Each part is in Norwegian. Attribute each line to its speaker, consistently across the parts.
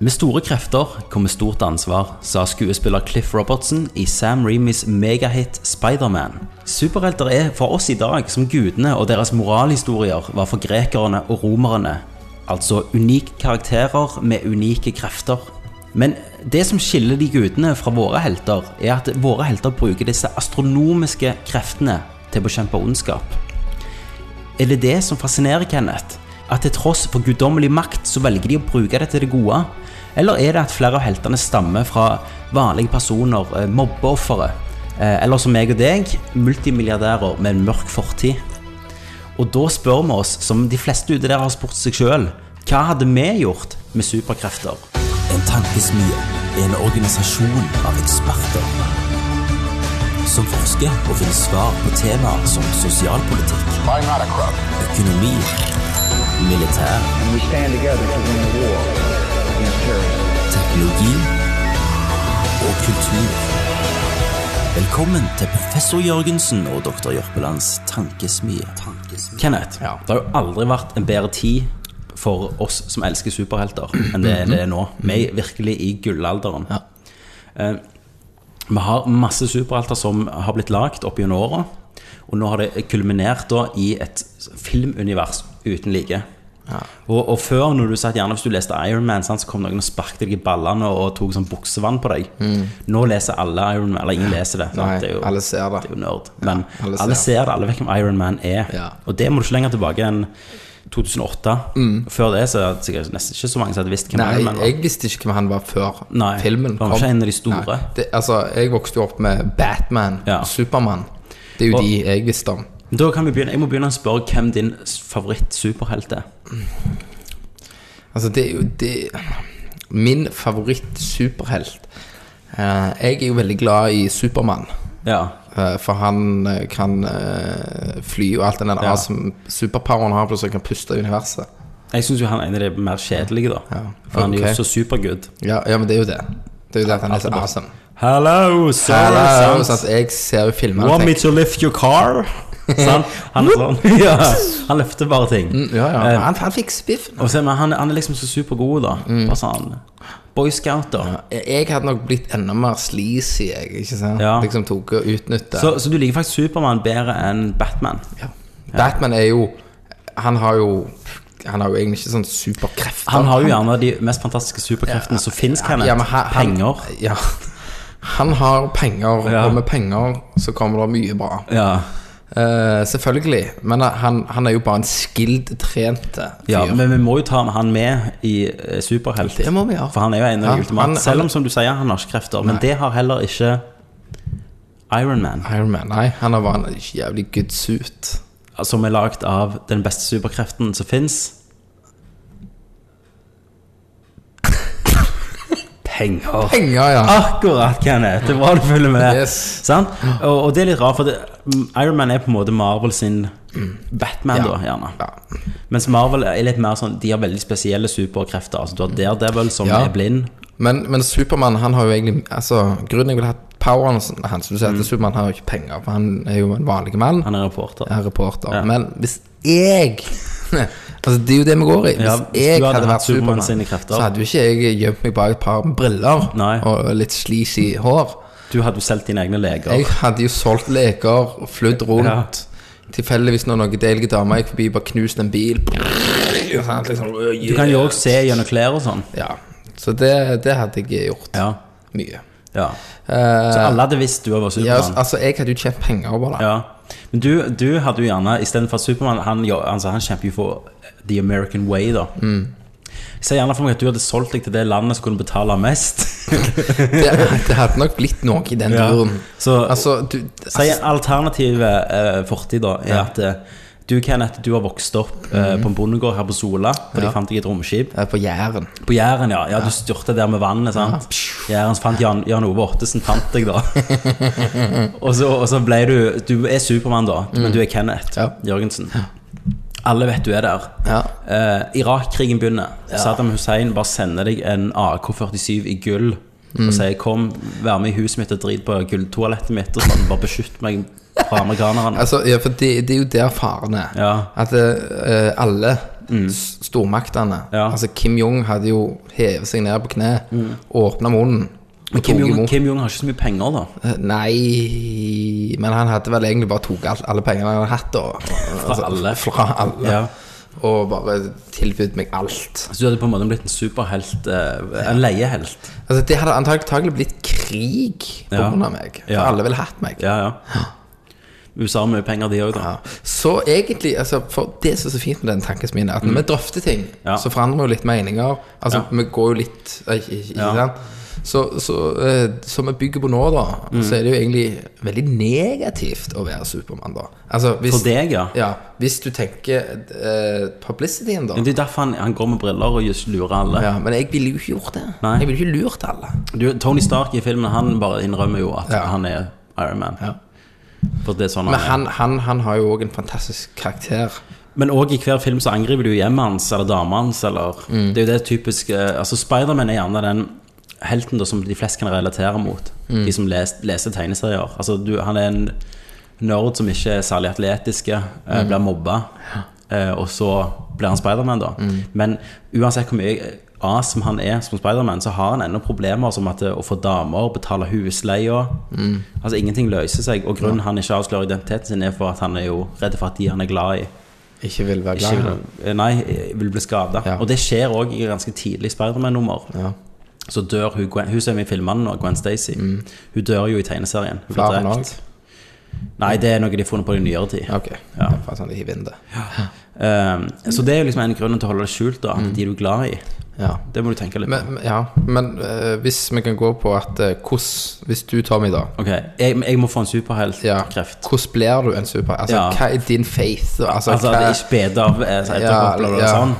Speaker 1: Med store krefter kommer stort ansvar, sa skuespiller Cliff Robertson i Sam Remis megahit Spiderman. Superhelter er for oss i dag som gudene og deres moralhistorier var for grekerne og romerne. Altså unike karakterer med unike krefter. Men det som skiller de gudene fra våre helter, er at våre helter bruker disse astronomiske kreftene til å bekjempe ondskap. Er det det som fascinerer Kenneth? At til tross for guddommelig makt, så velger de å bruke det til det gode? Eller er det at flere av heltene stammer fra vanlige personer, eh, mobbeofre? eh, Eller som meg og deg, multimilliardærer med en mørk fortid? Og da spør vi oss, som de fleste ute der har spurt seg sjøl, hva hadde vi gjort med superkrefter?
Speaker 2: En tankesmie er en organisasjon av eksperter som forsker og finner svar på temaer som sosialpolitikk,
Speaker 3: I'm not a crook.
Speaker 2: økonomi, militær,
Speaker 4: and we stand together to win the war against terrorism.
Speaker 2: teknologi og kultur. Velkommen til professor Jørgensen og doktor Jørpelands tankesmie.
Speaker 1: Kenneth, det har jo aldri vært en bedre tid for oss som elsker superhelter, enn det det er nå. Vi er virkelig i gullalderen. Eh, vi har masse superhelter som har blitt lagd opp gjennom åra, og nå har det kulminert da i et filmunivers uten like. Og, og før, når du satt gjerne hvis du leste Ironman, så kom noen og sparket deg i ballene og, og tok sånn buksevann på deg. Nå leser alle Ironman, eller ingen leser det. sant?
Speaker 5: Mm. Nei,
Speaker 1: det er jo,
Speaker 5: alle ser det.
Speaker 1: det er jo nerd. Men
Speaker 5: alle
Speaker 1: alle,
Speaker 5: ser.
Speaker 1: ser. det, alle vet hvem Iron Man er.
Speaker 5: Ja.
Speaker 1: Og det må du ikke lenger tilbake enn 2008. Før det så er det sikkert nesten ikke så mange som hadde visst hvem
Speaker 5: Mm. Nei,
Speaker 1: Iron Man var.
Speaker 5: jeg visste ikke hvem han var før
Speaker 1: Nei,
Speaker 5: filmen
Speaker 1: han var ikke en av de store.
Speaker 5: Nei, det, altså, jeg vokste jo opp med Batman,
Speaker 1: Ja.
Speaker 5: Supermann. Det er jo
Speaker 1: Og-
Speaker 5: de jeg visste om.
Speaker 1: Da kan vi begynne, jeg må begynne å spørre hvem din s- favoritt-superhelt er.
Speaker 5: Altså, det er jo det Min favoritt-superhelt eh, Jeg er jo veldig glad i Supermann.
Speaker 1: Ja.
Speaker 5: eh, for han eh, kan eh, fly og alt den der
Speaker 1: Ja.
Speaker 5: awesome superpoweren han har, plutselig kan puste i universet.
Speaker 1: Jeg syns jo han er en av de mer kjedelige, da.
Speaker 5: Ja.
Speaker 1: For han er
Speaker 5: Ok.
Speaker 1: jo så supergood.
Speaker 5: Ja, ja, men det er jo det. Det er jo det at han er
Speaker 1: Alt
Speaker 5: så
Speaker 1: er bra.
Speaker 5: awesome.
Speaker 1: Hello,
Speaker 5: Hello, sant? Jeg ser jo filmer og
Speaker 1: Want me
Speaker 5: tenker
Speaker 1: to lift your car? Sant? Han er sånn. Ja, han løfter bare ting.
Speaker 5: "Mm, ja, ja.
Speaker 1: Eh,
Speaker 5: Han, han fikk spiffen.
Speaker 1: Og så, men han, han er liksom så supergod, da.
Speaker 5: Mm.
Speaker 1: Bare sånn Boy Scout, da.
Speaker 5: Jeg jeg hadde nok blitt enda mer sleazy, jeg. Ikke sant?
Speaker 1: Ja.
Speaker 5: Liksom tok og utnytte.
Speaker 1: Så, så du liker faktisk Supermann bedre enn Batman?
Speaker 5: ja. Batman er jo Han har jo Han har jo egentlig ikke sånn superkrefter.
Speaker 1: Han har jo gjerne de mest fantastiske superkreftene som fins, Kenneth.
Speaker 5: men han- han-
Speaker 1: Penger.
Speaker 5: Ja. Han har penger,
Speaker 1: Ja.
Speaker 5: og med penger så kommer det mye bra.
Speaker 1: Ja.
Speaker 5: Eh, selvfølgelig. Men han, han er jo bare en skilled trente fyr.
Speaker 1: ja, men vi må jo ta han med i eh, Superhelt.
Speaker 5: Det må vi gjøre.
Speaker 1: For han er jo en av
Speaker 5: Ja,
Speaker 1: de
Speaker 5: han-
Speaker 1: ultimate.
Speaker 5: han-
Speaker 1: Selv om, som du sier, han har ikke krefter. Men det har heller ikke Ironman,
Speaker 5: Iron Man, nei. Han har bare en jævlig good suit.
Speaker 1: som er lagd av den beste superkreften som fins. Penger.
Speaker 5: Penger, ja.
Speaker 1: Ah! Akkurat, Kenneth. Det var du følger med.
Speaker 5: Yes.
Speaker 1: Sant? Og, og det er litt rart, for det, mm, Iron Man er på en måte Marvel sin Batman,
Speaker 5: Ja.
Speaker 1: da, gjerne.
Speaker 5: Ja.
Speaker 1: Mens Marvel er litt mer sånn De har veldig spesielle superkrefter. Altså, du har Daredevil, som
Speaker 5: Ja.
Speaker 1: er blind.
Speaker 5: Men, men Supermann, han har jo egentlig Altså, grunnen jeg vil ha poweren sånn- Han som du sier til Supermann, han har jo ikke penger, for han er jo en vanlig mann. Han
Speaker 1: Mm. Han er reporter.
Speaker 5: er reporter.
Speaker 1: Ja.
Speaker 5: Men hvis jeg Altså, det er jo det vi går i. Hvis,
Speaker 1: Ja, hvis
Speaker 5: jeg
Speaker 1: du hadde
Speaker 5: hadde,
Speaker 1: hatt Superman
Speaker 5: vært Supermann,
Speaker 1: sine krefter.
Speaker 5: så hadde jo ikke jeg gjemt meg bak et par briller
Speaker 1: Nei.
Speaker 5: og litt sleazy hår.
Speaker 1: Du hadde jo solgt dine egne leger.
Speaker 5: Jeg hadde jo solgt leker, flydd rundt. Tilfeldigvis når noen deilige damer gikk forbi, bare knust en bil. Og sånt, liksom, «Åh,
Speaker 1: Du kan jo
Speaker 5: yeah».
Speaker 1: òg se gjennom klær og sånn.
Speaker 5: Ja. Så det, det hadde jeg gjort
Speaker 1: Ja.
Speaker 5: mye. Eh,
Speaker 1: ja. Så alle hadde visst du var
Speaker 5: Ja,
Speaker 1: Supermann.
Speaker 5: altså, jeg hadde jo tjent penger på det.
Speaker 1: Ja. Men du, du hadde jo gjerne istedenfor Supermann han, jo- altså, han kjemper jo for the American way, da.
Speaker 5: Mm.
Speaker 1: Jeg ser gjerne for meg at du hadde solgt deg til det landet som kunne betale mest.
Speaker 5: Det, det hadde nok blitt noe i den
Speaker 1: Ja.
Speaker 5: duren.
Speaker 1: Så-
Speaker 5: altså, du,
Speaker 1: Si
Speaker 5: altså,
Speaker 1: en alternativ eh, fortid, da, er
Speaker 5: Ja. Mm.
Speaker 1: at eh, du, Kenneth, du har vokst opp eh, på en bondegård her på Sola, for de fant deg et romskip.
Speaker 5: eh, på Jæren.
Speaker 1: På Jæren, ja. ja. Du styrta der med vannet, sant. Jæren så fant Jan, Jan Ove Ottesen fant deg, da. og, så, og så ble du Du er Supermann, da, men du er Kenneth
Speaker 5: Mm. Ja.
Speaker 1: Jørgensen. Alle vet du er der.
Speaker 5: Ja.
Speaker 1: Eh, Irak-krigen begynner. Saddam Hussein bare sender deg en AK-47 i gull
Speaker 5: Mm.
Speaker 1: og sier 'kom, vær med i huset mitt og drit på gulltoalettet mitt', og sånn. Bare beskytt meg fra amerikanerne.
Speaker 5: Altså, ja, for det, det er jo der faren er.
Speaker 1: Ja.
Speaker 5: At eh, alle s- stormaktene.
Speaker 1: Mm. Ja. Mm.
Speaker 5: Altså Kim Jong hadde jo hevet seg ned på kne og åpna munnen. og
Speaker 1: Men Kim
Speaker 5: tog
Speaker 1: Jong,
Speaker 5: imot-
Speaker 1: Kim Jong har ikke så mye penger, da.
Speaker 5: Eh, Nei Men han hadde vel egentlig bare tatt alt- alle pengene han hadde hatt. Og, fra
Speaker 1: alle.
Speaker 5: Fra alle.
Speaker 1: Ja.
Speaker 5: Og bare tilbudt meg alt.
Speaker 1: Så du hadde på en måte blitt en superhelt. Eh, en leiehelt.
Speaker 5: Altså Det hadde antakelig blitt krig pga.
Speaker 1: Ja.
Speaker 5: grunn av meg. For
Speaker 1: Ja.
Speaker 5: alle ville hatt meg.
Speaker 1: Ja, ja. USA har mye penger, de òg, da.
Speaker 5: Ja. Så egentlig, altså, for det som er så fint med den tankesmien, er at når vi drøfter ting,
Speaker 1: Mm. Ja.
Speaker 5: så forandrer vi jo litt meninger. Altså,
Speaker 1: Ja.
Speaker 5: vi går jo litt eh, Ikke, ikke, ikke
Speaker 1: Ja.
Speaker 5: sant? Så, så, eh, som vi bygger på nå, da,
Speaker 1: Mm.
Speaker 5: så er det jo egentlig veldig negativt å være Supermann, da. Altså, hvis,
Speaker 1: For deg, ja.
Speaker 5: Ja, hvis du tenker eh, publicityen, da.
Speaker 1: Men Det er derfor han, han går med briller og just lurer alle.
Speaker 5: Ja, men jeg ville jo ikke gjort det.
Speaker 1: Nei.
Speaker 5: Jeg ville ikke lurt alle.
Speaker 1: Du, Tony Stark i filmen han bare innrømmer jo at
Speaker 5: Ja.
Speaker 1: han er Iron Man.
Speaker 5: Ja.
Speaker 1: For det er sånn
Speaker 5: Men
Speaker 1: han er.
Speaker 5: han, han, han har jo òg en fantastisk karakter.
Speaker 1: Men òg i hver film så angriper du hjemmet hans eller dama hans. Eller, Det er jo det typiske Altså Spiderman er gjerne den helten da, som de flest kan relatere mot. De som les, leser tegneserier. Altså du, Han er en nerd som ikke er særlig atletiske, eh, blir mobba, eh, og så blir han Spiderman, da. Men uansett hvor mye as som han er som Spiderman, så har han ennå problemer som at eh, å få damer, betale husleia Altså ingenting løser seg. Og grunnen han ikke avslører identiteten sin, er for at han er jo redd for at de han er glad i
Speaker 5: Ikke vil være glad i
Speaker 1: ikke
Speaker 5: ham.
Speaker 1: vil, eh, nei, vil bli skada.
Speaker 5: Ja.
Speaker 1: Og det skjer òg i ganske tidlig Spiderman-nummer.
Speaker 5: Ja.
Speaker 1: Så dør hun Gwen, Hun som er med i filmene nå, Gwen Stacy.
Speaker 5: Mm.
Speaker 1: Hun dør jo i tegneserien. Hun blir
Speaker 5: Flere
Speaker 1: drept.
Speaker 5: òg.
Speaker 1: Nei, det er noe de har funnet på i nyere tid.
Speaker 5: Ok.
Speaker 1: Ja.
Speaker 5: Det er bare sånn de hiver inn det.
Speaker 1: Um, så det er jo liksom en grunn til å holde det skjult, da. De du er glad i.
Speaker 5: Ja.
Speaker 1: Det må du tenke litt på.
Speaker 5: Mm. Men, men- ja, men eh, hvis vi kan gå på at eh, hvordan Hvis du, Tommy, da
Speaker 1: Ok, jeg, jeg må få en
Speaker 5: ja,
Speaker 1: superheltkreft.
Speaker 5: Hvordan blir du en super? Altså,
Speaker 1: Ja.
Speaker 5: Hva er din faith? og Altså,
Speaker 1: Altså at
Speaker 5: hva,
Speaker 1: jeg ikke beder av eh, så
Speaker 5: Ja,
Speaker 1: etterpåkopler og
Speaker 5: ja.
Speaker 1: sånn.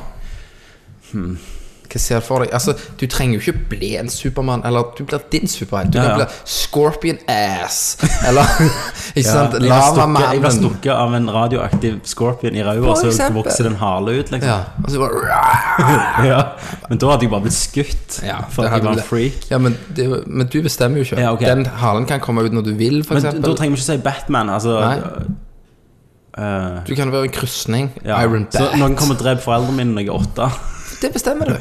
Speaker 5: hva ser du for deg? Altså, Du trenger jo ikke bli en Supermann, eller du blir din superhelt. Du
Speaker 1: Ja,
Speaker 5: kan
Speaker 1: ja.
Speaker 5: bli Scorpion Ass, eller Ikke
Speaker 1: Ja,
Speaker 5: sant?
Speaker 1: jeg blir stukket- jeg blir
Speaker 5: Lavamannen.
Speaker 1: stukket av en radioaktiv scorpion i ræva,
Speaker 5: For
Speaker 1: så
Speaker 5: eksempel.
Speaker 1: vokser det en hale ut, liksom.
Speaker 5: Ja, og så bare
Speaker 1: ja. Men da hadde jeg bare blitt skutt for
Speaker 5: Ah.
Speaker 1: at jeg
Speaker 5: det hadde
Speaker 1: var en
Speaker 5: det.
Speaker 1: freak.
Speaker 5: Ja, men, det, men du bestemmer jo ikke.
Speaker 1: Ja, ok.
Speaker 5: Den halen kan komme ut når du vil, for
Speaker 1: Men da
Speaker 5: eksempel.
Speaker 1: trenger vi ikke si Batman. Altså
Speaker 5: Nei.
Speaker 1: øh,
Speaker 5: Du kan være en krysning.
Speaker 1: ja.
Speaker 5: Iron Bat.
Speaker 1: Så noen kommer og dreper foreldrene mine når jeg er åtte.
Speaker 5: Det bestemmer du.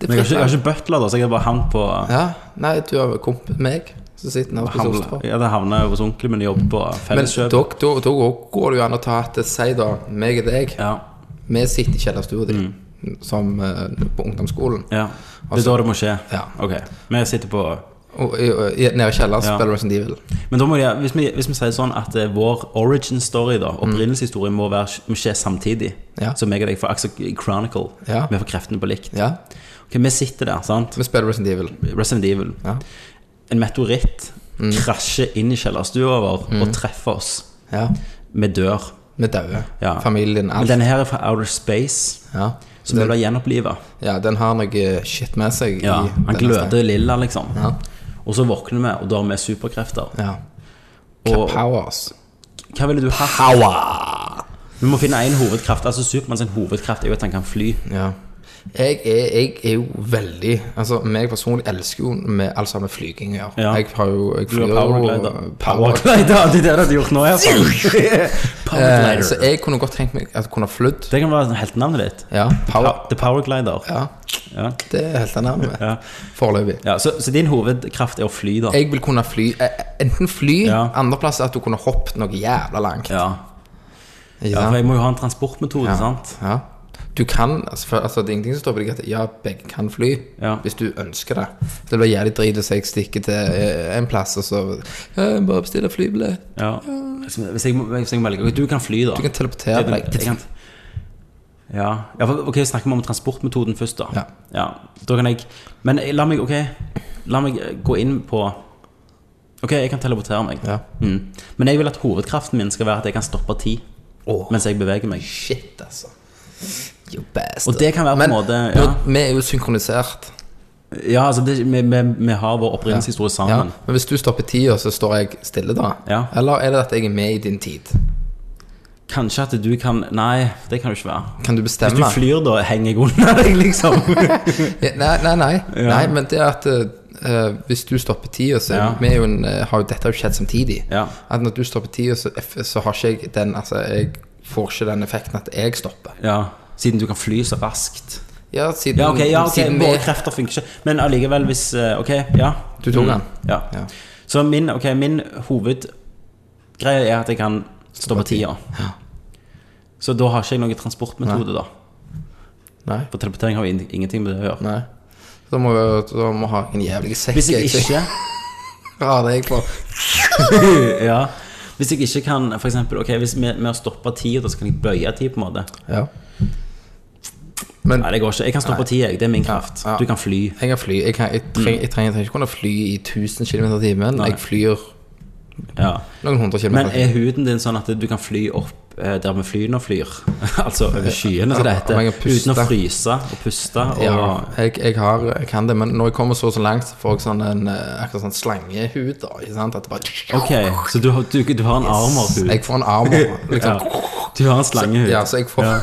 Speaker 5: Det
Speaker 1: Men jeg har ikke, jeg har ikke butler, da, så jeg har bare havnet på
Speaker 5: Ja, nei, du har komp meg som sitter nede på
Speaker 1: havnet-
Speaker 5: sofaen.
Speaker 1: ja, det havner hos onkelen min og jobber på
Speaker 5: Men
Speaker 1: Felleskjøp.
Speaker 5: da da- da går det jo an å ta at Si da, meg og deg,
Speaker 1: Ja, Mm.
Speaker 5: vi sitter i kjellerstua di, som eh, på ungdomsskolen.
Speaker 1: ja. Det er da
Speaker 5: Altså-
Speaker 1: det må skje.
Speaker 5: Ja.
Speaker 1: Ok. Men jeg sitter på
Speaker 5: Og, i- og, i- nede i kjelleren
Speaker 1: Ja.
Speaker 5: spiller du Resident Evil.
Speaker 1: Men da må jeg, hvis, vi, hvis vi sier sånn at eh, vår origin story, da opprinnelseshistorie, må, være- må skje samtidig.
Speaker 5: Mm. Ja.
Speaker 1: Så meg og deg får Axel Chronicle.
Speaker 5: Ja.
Speaker 1: Vi får kreftene på likt.
Speaker 5: Ja,
Speaker 1: Ok, Vi sitter der, sant?
Speaker 5: vi spiller Resident Evil.
Speaker 1: Resident Evil.
Speaker 5: Ja.
Speaker 1: En meteoritt
Speaker 5: Mm.
Speaker 1: krasjer inn i kjellerstua vår og treffer oss.
Speaker 5: ja.
Speaker 1: Vi dør.
Speaker 5: Vi dauer.
Speaker 1: Ja.
Speaker 5: Familien,
Speaker 1: Men
Speaker 5: alt.
Speaker 1: denne her er fra Outer Space,
Speaker 5: ja.
Speaker 1: så vi blir gjenoppliva.
Speaker 5: ja, den har noe shit med seg. i
Speaker 1: Ja, han
Speaker 5: denne
Speaker 1: gløder
Speaker 5: steinen.
Speaker 1: lilla, liksom.
Speaker 5: Ja.
Speaker 1: Og så våkner vi, og da har vi superkrefter.
Speaker 5: ja.
Speaker 1: Og
Speaker 5: Powers.
Speaker 1: hva ville du hatt?
Speaker 5: Power!
Speaker 1: Vi må finne én hovedkraft. Altså Supermann sin hovedkraft er jo at han kan fly.
Speaker 5: Ja. Jeg er, jeg er jo veldig Altså, meg personlig elsker jo med, alt sammen med flyging å gjøre.
Speaker 1: Ja.
Speaker 5: Jeg har jo jeg
Speaker 1: Du er
Speaker 5: flyr jo-
Speaker 1: powerglider.
Speaker 5: Power-
Speaker 1: Powerglider, det er det du hadde gjort nå, iallfall.
Speaker 5: Eh, så
Speaker 1: Powerglider.
Speaker 5: jeg kunne godt tenkt meg at jeg kunne flydd.
Speaker 1: Det kan være heltenavnet ditt.
Speaker 5: Ja, power.
Speaker 1: Pa- The Powerglider.
Speaker 5: Ja,
Speaker 1: Ja.
Speaker 5: det er helt annerledes med.
Speaker 1: Ja.
Speaker 5: Foreløpig.
Speaker 1: Ja, så, så din hovedkraft er å fly, da?
Speaker 5: Jeg vil kunne fly eh, Enten fly,
Speaker 1: Ja.
Speaker 5: andreplass er at du kunne hoppet noe jævla langt.
Speaker 1: Ja. ja,
Speaker 5: Ikke sant?
Speaker 1: for jeg må jo ha en transportmetode, sant?
Speaker 5: Ja. Du kan altså, for, altså, Det er ingenting som står på deg at ja, begge kan fly,
Speaker 1: Ja.
Speaker 5: hvis du ønsker det. Det blir jævlig drit hvis jeg stikker til eh, en plass, og så ja, jeg Bare bestiller flybillett.
Speaker 1: Ja. Hvis hvis jeg, må- hvis jeg velger Du kan fly, da.
Speaker 5: Du kan teleportere
Speaker 1: Jeg-
Speaker 5: deg.
Speaker 1: jeg kan- Ja. ja for, ok, snakker vi om transportmetoden først, da.
Speaker 5: Ja.
Speaker 1: Da kan jeg Men eh, la meg ok La meg eh, gå inn på Ok, jeg kan teleportere meg.
Speaker 5: Ja.
Speaker 1: Mm. Men jeg vil at hovedkraften min skal være at jeg kan stoppe tid
Speaker 5: Åh.
Speaker 1: mens jeg beveger meg.
Speaker 5: Shit, altså. You bastard.
Speaker 1: Og det kan være på en måte, ja.
Speaker 5: nå- Vi er jo synkronisert.
Speaker 1: Ja, altså, det, vi, vi, vi har vår opprinnelseshistorie sammen.
Speaker 5: Ja, Men hvis du stopper tida, så står jeg stille da?
Speaker 1: Ja.
Speaker 5: Eller er det at jeg er med i din tid?
Speaker 1: Kanskje at du kan Nei, det kan du ikke være.
Speaker 5: Kan du bestemme?
Speaker 1: Hvis du flyr, da henger jeg under deg, liksom.
Speaker 5: Ja, Nei, nei, nei. nei men det er at eh, hvis du stopper tida, så
Speaker 1: Ja.
Speaker 5: vi er jo en, eh, har jo dette har jo skjedd samtidig.
Speaker 1: Ja.
Speaker 5: At når du stopper tida, så, eff- så har ikke jeg den Altså, jeg får ikke den effekten at jeg stopper.
Speaker 1: ja. Siden du kan fly så raskt.
Speaker 5: Ja, siden,
Speaker 1: Ja, ok, ja, ok,
Speaker 5: siden
Speaker 1: våre
Speaker 5: vi
Speaker 1: krefter funker ikke. Men allikevel, hvis eh, Ok, ja. Mm,
Speaker 5: Du tok den.
Speaker 1: Ja.
Speaker 5: Ja.
Speaker 1: Så min, ok, min hovedgreie er at jeg kan stå på tida. Så da har ikke jeg noen transportmetode, da.
Speaker 5: Nei.
Speaker 1: For teleportering har jo in- ingenting med det å gjøre.
Speaker 5: Nei. Da må vi da må vi ha en jævlig sekk.
Speaker 1: Hvis jeg ikke
Speaker 5: Ja, det er jeg på.
Speaker 1: ja, Hvis jeg ikke kan for eksempel, ok, Hvis med, med å stoppe tida, så kan jeg bøye tid, på en måte.
Speaker 5: Ja. Men
Speaker 1: Nei, det går ikke. Jeg kan stoppe tid, jeg. Det er min kraft.
Speaker 5: Ja, ja.
Speaker 1: Du kan fly.
Speaker 5: jeg kan fly. Jeg, kan, jeg, trenger, jeg trenger jeg trenger ikke kunne fly i 1000 km i timen.
Speaker 1: Nei.
Speaker 5: Jeg flyr
Speaker 1: Ja.
Speaker 5: noen hundre
Speaker 1: Men
Speaker 5: kilometer. i
Speaker 1: er huden din sånn at du kan fly opp eh, der vi flyene flyr? altså over skyene, som det
Speaker 5: Om jeg
Speaker 1: heter.
Speaker 5: kan puste.
Speaker 1: Uten å fryse og puste. Og,
Speaker 5: Ja, jeg, jeg, har, jeg kan det, men når jeg kommer så og så langt, så får jeg sånn en eh, akkurat sånn slangehud. da, ikke sant? At det bare
Speaker 1: Ok, så du, har- du, du har en armorhud?
Speaker 5: Jeg får en armor.
Speaker 1: Ja.
Speaker 5: Liksom.
Speaker 1: Du har en slangehud?
Speaker 5: Ja, så jeg får
Speaker 1: Ja.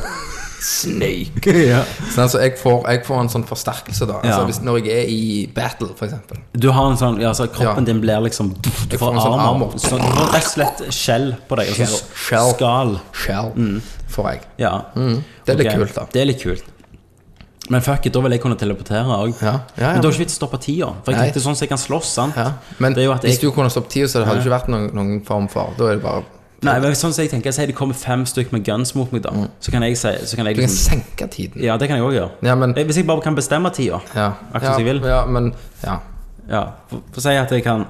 Speaker 5: Snake.
Speaker 1: Ja.
Speaker 5: Sånn, så jeg får, jeg får en sånn forsterkelse, da.
Speaker 1: Ja.
Speaker 5: Altså, hvis, når jeg er i battle, for eksempel.
Speaker 1: Du har en sånn, ja, så kroppen
Speaker 5: Ja.
Speaker 1: din blir liksom Du får
Speaker 5: Jeg får en sånn
Speaker 1: armor.
Speaker 5: armor.
Speaker 1: Så, du får rett og slett skjell på deg. Altså,
Speaker 5: Skjell.
Speaker 1: Skal.
Speaker 5: Shell får jeg. Mm.
Speaker 1: Ja.
Speaker 5: Det er
Speaker 1: Mm.
Speaker 5: litt
Speaker 1: Ok,
Speaker 5: kult, da.
Speaker 1: Det er litt kult. Men fuck it, da vil jeg kunne teleportere òg.
Speaker 5: Ja, ja, ja.
Speaker 1: Men da er ikke vits å stoppe tida. For jeg
Speaker 5: Nei.
Speaker 1: tenkte sånn som jeg kan slåss, sant.
Speaker 5: Ja. Men
Speaker 1: det er jo at
Speaker 5: hvis
Speaker 1: jeg,
Speaker 5: du kunne stoppet tida, så det hadde det ikke vært noen, noen form for Da er det bare
Speaker 1: Nei, men sånn som jeg tenker, si det kommer fem stykker med guns mot meg, da. Så kan jeg si så kan jeg
Speaker 5: Du kan
Speaker 1: liksom,
Speaker 5: senke tiden.
Speaker 1: Ja, det kan jeg òg gjøre. Eh,
Speaker 5: Ja, men-
Speaker 1: Hvis jeg bare kan bestemme tida.
Speaker 5: Ja.
Speaker 1: Akkurat
Speaker 5: ja,
Speaker 1: som jeg vil.
Speaker 5: Ja, men Ja.
Speaker 1: Ja, for, for å si at jeg kan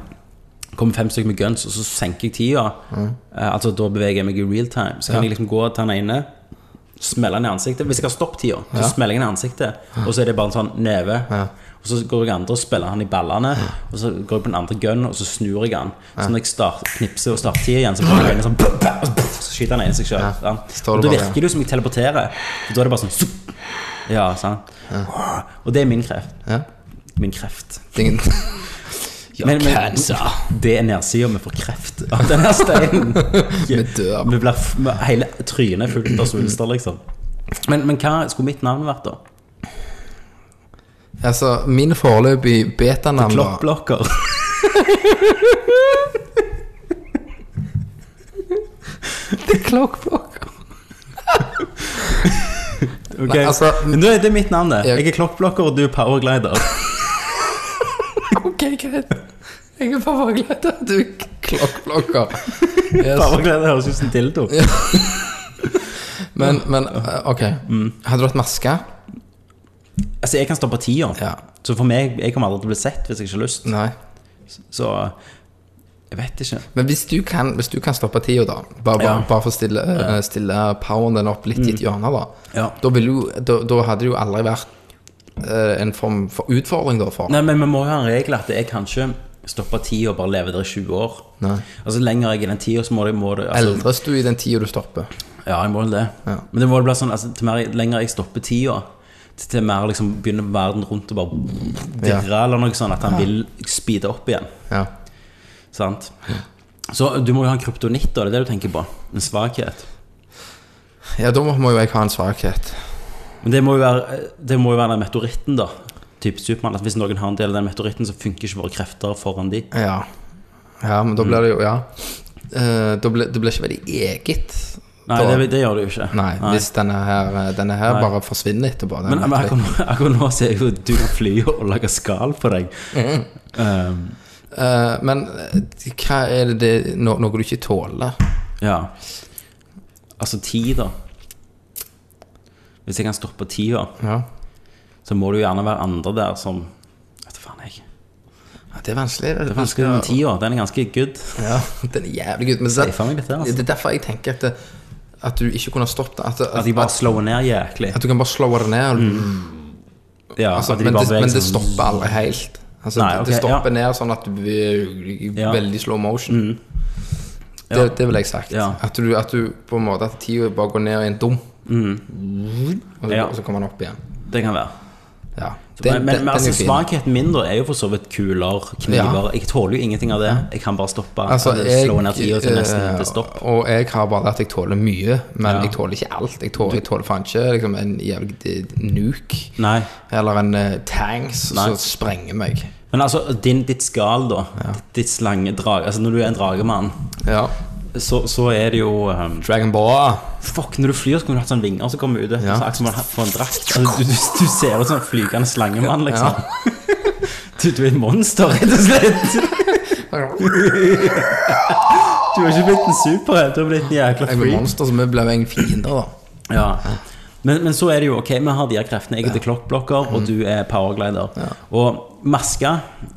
Speaker 1: komme fem stykker med guns, og så senker jeg tida. Eh, altså da beveger jeg meg i real time. Så kan
Speaker 5: Mm. Ja.
Speaker 1: jeg liksom gå til den ene, smelle den i ansiktet. Hvis jeg har stoppet tida, så
Speaker 5: Ja.
Speaker 1: smeller jeg den i ansiktet, og så er det bare en sånn neve.
Speaker 5: Ja.
Speaker 1: Og så går jeg andre og spiller han i ballene, og så går jeg på den andre gun, og så snur jeg han. Så når jeg start, knipser og starter tida igjen, så kommer jeg inn og sånn, bam, bam, og så, puff, så skyter han inn seg sjøl.
Speaker 5: Ja. Står
Speaker 1: Og
Speaker 5: det
Speaker 1: da
Speaker 5: bare-
Speaker 1: virker det jo som jeg teleporterer. For da er det bare sånn zup. Ja, sant. Og det er min kreft.
Speaker 5: ja.
Speaker 1: Min kreft.
Speaker 5: Det er ingen-
Speaker 1: Men, men det er nedsida vi får kreft av den her steinen.
Speaker 5: Vi dør.
Speaker 1: Vi blir f- med hele trynet er fullt av svulster, liksom. Men, men hva skulle mitt navn vært, da?
Speaker 5: Altså, min foreløpig betanavn da-
Speaker 1: Kloppblokker?
Speaker 5: The Clock Blocker.
Speaker 1: Ok.
Speaker 5: Nei, altså,
Speaker 1: Men nå er det mitt navn, det.
Speaker 5: Ja.
Speaker 1: Jeg er klokkblokker, og du er powerglider.
Speaker 5: OK, greit. Jeg er powerglider, du er klokkblokker. Yes.
Speaker 1: Powerglider høres ut som en dildo.
Speaker 5: Men, men eh, OK.
Speaker 1: Mm.
Speaker 5: Hadde du hatt maske?
Speaker 1: Altså, jeg kan stå på tier.
Speaker 5: Ja.
Speaker 1: Så for meg, jeg kommer aldri til å bli sett hvis jeg ikke har lyst.
Speaker 5: Nei.
Speaker 1: Så jeg vet ikke.
Speaker 5: Men hvis du kan, hvis du kan stoppe tida, da, bare, bare,
Speaker 1: Ja. Mm.
Speaker 5: bare for å stille, eh, stille poweren din opp litt i et hjørne, da,
Speaker 1: Ja.
Speaker 5: da, vil jo, da, da hadde det jo aldri vært eh, en form for utfordring, da, for
Speaker 1: Nei, men vi må jo ha en regel at jeg kan ikke stoppe tida og bare leve der i 20 år.
Speaker 5: Nei.
Speaker 1: Altså, lenger jeg er i den tida, så må det, må det altså,
Speaker 5: Eldres du i den tida du stopper?
Speaker 1: Ja, jeg må vel det.
Speaker 5: Ja.
Speaker 1: Men det må vel bli sånn altså, til mer, lenger jeg stopper tida, til, til mer liksom begynner verden rundt og bare dirre eller noe sånn at han vil speede opp igjen.
Speaker 5: Ja.
Speaker 1: Sant? Så du må jo ha en kryptonitt, da. Det er det du tenker på. En svakhet.
Speaker 5: ja, da må, må jo jeg ha en svakhet.
Speaker 1: Men det må jo være, det må jo være den meteoritten, da. Typ Supermann. At hvis noen har en del av den meteoritten, så funker ikke våre krefter foran de.
Speaker 5: Ja. ja,
Speaker 1: Mm.
Speaker 5: men da blir det jo Ja. Eh, da blir, det blir ikke veldig eget.
Speaker 1: Nei,
Speaker 5: da.
Speaker 1: det, det gjør det jo ikke.
Speaker 5: Nei, hvis denne her, eh, denne her
Speaker 1: Nei.
Speaker 5: bare forsvinner etterpå. den
Speaker 1: Men, men
Speaker 5: meteoritten.
Speaker 1: akkurat, akkurat nå ser jeg jo at du kan fly og lage skall på deg.
Speaker 5: Mm.
Speaker 1: Um,
Speaker 5: Eh, men eh, hva er det, det no, noe du ikke tåler?
Speaker 1: ja. Altså tid, da. Hvis jeg kan stoppe tida,
Speaker 5: Ja.
Speaker 1: så må det jo gjerne være andre der som Vet du faen, jeg.
Speaker 5: Ja, Det er vanskelig.
Speaker 1: Det er vanskelig med
Speaker 5: å-
Speaker 1: tida. Den er ganske good.
Speaker 5: Ja, den er jævlig gutt. Men så,
Speaker 1: Det er faen meg litt det, altså.
Speaker 5: det er derfor jeg tenker at, det, at du ikke kunne ha stoppet det. At,
Speaker 1: At de bare Mm. slår ned jæklig.
Speaker 5: at du kan bare slå det ned. og-
Speaker 1: Ja,
Speaker 5: altså,
Speaker 1: at de
Speaker 5: men,
Speaker 1: bare
Speaker 5: det, men
Speaker 1: beveger
Speaker 5: det
Speaker 1: seg sånn.
Speaker 5: stopper aldri helt. Altså,
Speaker 1: Nei,
Speaker 5: det-
Speaker 1: ok,
Speaker 5: det stopper
Speaker 1: ja.
Speaker 5: ned sånn at du i
Speaker 1: Ja. Mm.
Speaker 5: veldig slow motion.
Speaker 1: Ja.
Speaker 5: Det, det vil jeg sagt.
Speaker 1: Ja.
Speaker 5: At, du, at du på en måte At tida bare går ned i en dum, og, så,
Speaker 1: Mm. Ja.
Speaker 5: og så kommer den opp igjen.
Speaker 1: Det kan være.
Speaker 5: Ja.
Speaker 1: men men, men
Speaker 5: er jo
Speaker 1: altså,
Speaker 5: fin.
Speaker 1: svakheten min da er jo for så vidt kuler, kniver Jeg tåler jo ingenting av det. Jeg kan bare stoppe.
Speaker 5: Altså,
Speaker 1: eller
Speaker 5: jeg,
Speaker 1: slå ned tida til nesten
Speaker 5: eh,
Speaker 1: til stopp.
Speaker 5: Og jeg har bare at jeg tåler mye, men
Speaker 1: Ja.
Speaker 5: jeg tåler ikke alt. Jeg tåler, jeg tåler faen ikke liksom, en jævlig d- nuke
Speaker 1: Nei.
Speaker 5: eller en eh, tanks
Speaker 1: Nei.
Speaker 5: som sprenger meg.
Speaker 1: Men altså, din, ditt skal da Ditt slangedrag Altså når du er en dragemann
Speaker 5: Ja.
Speaker 1: så, så er det jo ehm,
Speaker 5: Dragon Ball.
Speaker 1: Fuck, når du flyr, så kunne du hatt sånn vinger som kommer ut.
Speaker 5: Ja.
Speaker 1: Ja. Så akkurat som man har hatt på en drakt. Altså, du, du, du ser ut som en flygende slangemann, liksom. Du, du er et monster, rett og slett. Du har ikke blitt en superhelt, du har blitt en jækla
Speaker 5: Jeg blir
Speaker 1: freak.
Speaker 5: monster, så vi ble jo egentlig fiender, da.
Speaker 1: Ja. Men, men så er det jo ok, vi har de her kreftene. Jeg er til klokkblokker,
Speaker 5: Mm.
Speaker 1: og du er powerglider. Og maske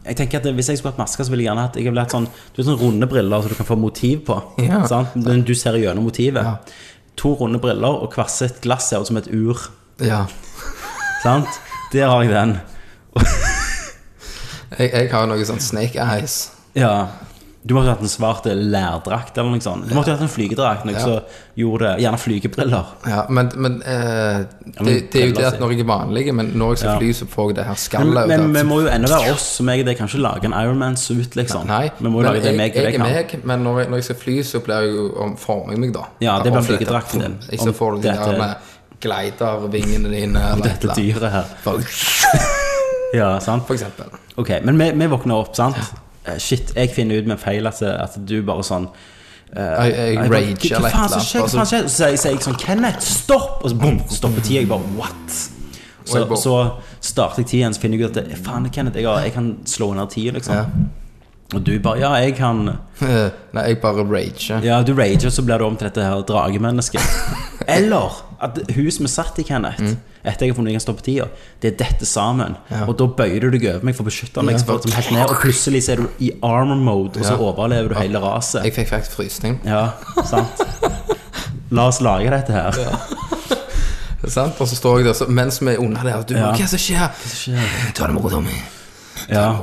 Speaker 1: jeg tenker at Hvis jeg skulle hatt maske, så ville jeg gjerne hatt Jeg ville hatt sånn, du vet, sånn runde briller som du kan få motiv på.
Speaker 5: Ja.
Speaker 1: Sant? Men du ser gjennom motivet. To runde briller og kvasset glass ser ut som et ur.
Speaker 5: Ja.
Speaker 1: Sant? Der har jeg den.
Speaker 5: Jeg, jeg har jo noe sånn Snake Eyes.
Speaker 1: Ja. Du måtte hatt en svart lærdrakt eller noe sånt. Du måtte hatt en flygedrakt. Noe
Speaker 5: Ja.
Speaker 1: som gjorde det. Gjerne flygebriller.
Speaker 5: Ja, men, men eh, det, det er jo det at når jeg er vanlig, men når jeg skal
Speaker 1: Ja.
Speaker 5: fly, så får jeg det her
Speaker 1: Men,
Speaker 5: skallet.
Speaker 1: men
Speaker 5: ut
Speaker 1: vi
Speaker 5: av-
Speaker 1: må jo ennå være oss som jeg det. Kan ikke lage en Ironman-suit, liksom.
Speaker 5: Nei,
Speaker 1: vi må jo lage det
Speaker 5: jeg,
Speaker 1: meg,
Speaker 5: jeg,
Speaker 1: jeg
Speaker 5: er
Speaker 1: kan.
Speaker 5: meg, men når jeg, når jeg skal fly, så blir jeg jo om- former jeg meg, da.
Speaker 1: Ja, det blir
Speaker 5: Om dette-
Speaker 1: flygedrakten din.
Speaker 5: Jeg
Speaker 1: Om
Speaker 5: så får du de
Speaker 1: dette-
Speaker 5: der med glidervingene dine. eller et
Speaker 1: Dette
Speaker 5: eller annet.
Speaker 1: dyret her.
Speaker 5: For,
Speaker 1: Ja, sant?
Speaker 5: for eksempel.
Speaker 1: Ok, men vi, vi våkner opp, sant? Eh, Shit, jeg finner ut med feil at, at du bare sånn
Speaker 5: Jeg, jeg
Speaker 1: jeg bare,
Speaker 5: rager eller et
Speaker 1: Hva
Speaker 5: Eh, eller
Speaker 1: faen som
Speaker 5: annet.
Speaker 1: skjer? Hva
Speaker 5: og så-
Speaker 1: faen skjer? Så sier jeg- sier jeg sånn Kenneth, stopp! Og så bom, stopper tida. Jeg bare what? Så,
Speaker 5: Og jeg bare-
Speaker 1: så starter jeg tida igjen, så finner jeg ut at eh, faen, Kenneth, jeg, har- jeg kan slå ned tida, liksom.
Speaker 5: Ja.
Speaker 1: Og du bare ja, jeg kan
Speaker 5: Eh, Nei, jeg bare rager.
Speaker 1: Ja, du rager, så blir du om til dette her dragemennesket. Eller at huset vi satt i, Kenneth, etter jeg har funnet ut jeg kan stoppe tida, det er dette sammen.
Speaker 5: Mm. Ja.
Speaker 1: Og da bøyer du deg over meg for å beskytte meg,
Speaker 5: Ja.
Speaker 1: så får jeg helt ned, og plutselig så er du i armor mode, og så
Speaker 5: Ja.
Speaker 1: overlever du hele raset.
Speaker 5: Jeg fikk faktisk frysning.
Speaker 1: Ja, sant. La oss lage dette her.
Speaker 5: Sant? Og så står jeg der så, mens vi er under der, og du
Speaker 1: Ja.
Speaker 5: bare, Hva som skjer? Ta det med ro, Tommy.
Speaker 1: Ja.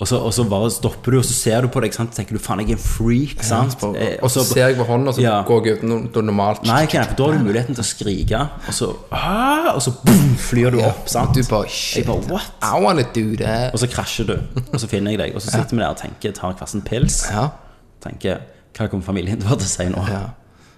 Speaker 1: Og så, og så bare stopper du, og så ser du på deg, sant? tenker du faen, jeg er en freak. sant? Eh,
Speaker 5: Og så ser jeg på hånda, og så
Speaker 1: Ja.
Speaker 5: går jeg ut no- no- normalt.
Speaker 1: Nei, Kenneth, for da har du muligheten til å skrike, og så, ah, og så boom, flyr du opp. sant?
Speaker 5: Du bare Shit.
Speaker 1: Jeg bare, what?
Speaker 5: I wanna do that.
Speaker 1: Og så krasjer du, og så finner jeg deg, og så sitter vi der og tenker, tar hver sin pils.
Speaker 5: Ja.
Speaker 1: Tenker, hva kommer familien til å til å si nå?
Speaker 5: ja.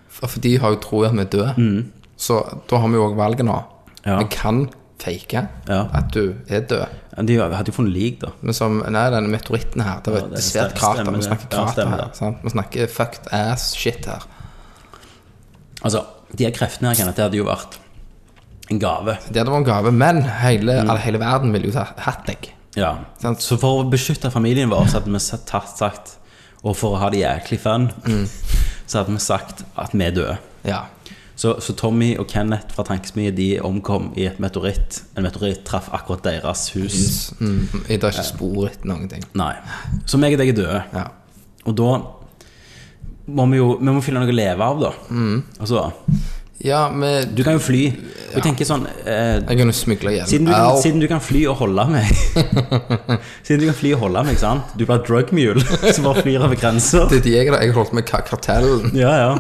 Speaker 5: For for de har jo tro at vi er døde. Så da har vi jo òg valget nå.
Speaker 1: Mm. Ja.
Speaker 5: Vi kan fake
Speaker 1: Ja.
Speaker 5: at du er død.
Speaker 1: De hadde jo funnet lik, da.
Speaker 5: Men som Nei, denne meteoritten her, det var
Speaker 1: Ja,
Speaker 5: et
Speaker 1: det
Speaker 5: svært
Speaker 1: stemmer-
Speaker 5: krater.
Speaker 1: stemmer
Speaker 5: Vi
Speaker 1: det.
Speaker 5: snakker
Speaker 1: Ja,
Speaker 5: krater
Speaker 1: stemmer
Speaker 5: her.
Speaker 1: det.
Speaker 5: Sant? Vi snakker fucked ass shit her.
Speaker 1: Altså, de her kreftene her, Kenneth, det hadde jo vært en gave.
Speaker 5: Det hadde vært en gave, men hele,
Speaker 1: Mm.
Speaker 5: eller hele verden ville jo ta- hatt deg.
Speaker 1: Ja.
Speaker 5: Sant.
Speaker 1: Så for å beskytte familien vår, så hadde vi satt- tatt sagt, og for å ha det jæklig fun,
Speaker 5: Mm.
Speaker 1: så hadde vi sagt at vi er døde.
Speaker 5: Ja.
Speaker 1: Så, så Tommy og Kenneth fra Tankesmie de omkom i et meteoritt. En meteoritt traff akkurat deres hus.
Speaker 5: Mm. Det er ikke spor etter noen ting.
Speaker 1: Nei. Så meg og deg er døde.
Speaker 5: Ja.
Speaker 1: Og da må vi jo vi må finne noe å leve av, da.
Speaker 5: Mm.
Speaker 1: Altså,
Speaker 5: ja, men
Speaker 1: du kan jo fly. Og jeg tenker sånn eh,
Speaker 5: Jeg kan jo smugle hjem.
Speaker 1: siden, du kan,
Speaker 5: Au.
Speaker 1: siden du kan fly og holde meg Siden du kan fly og holde meg, sant? Du blir drugmule som bare flyr over grenser.
Speaker 5: Det er de jeg da. Jeg holdt med ka- kartellen.
Speaker 1: Ja, ja.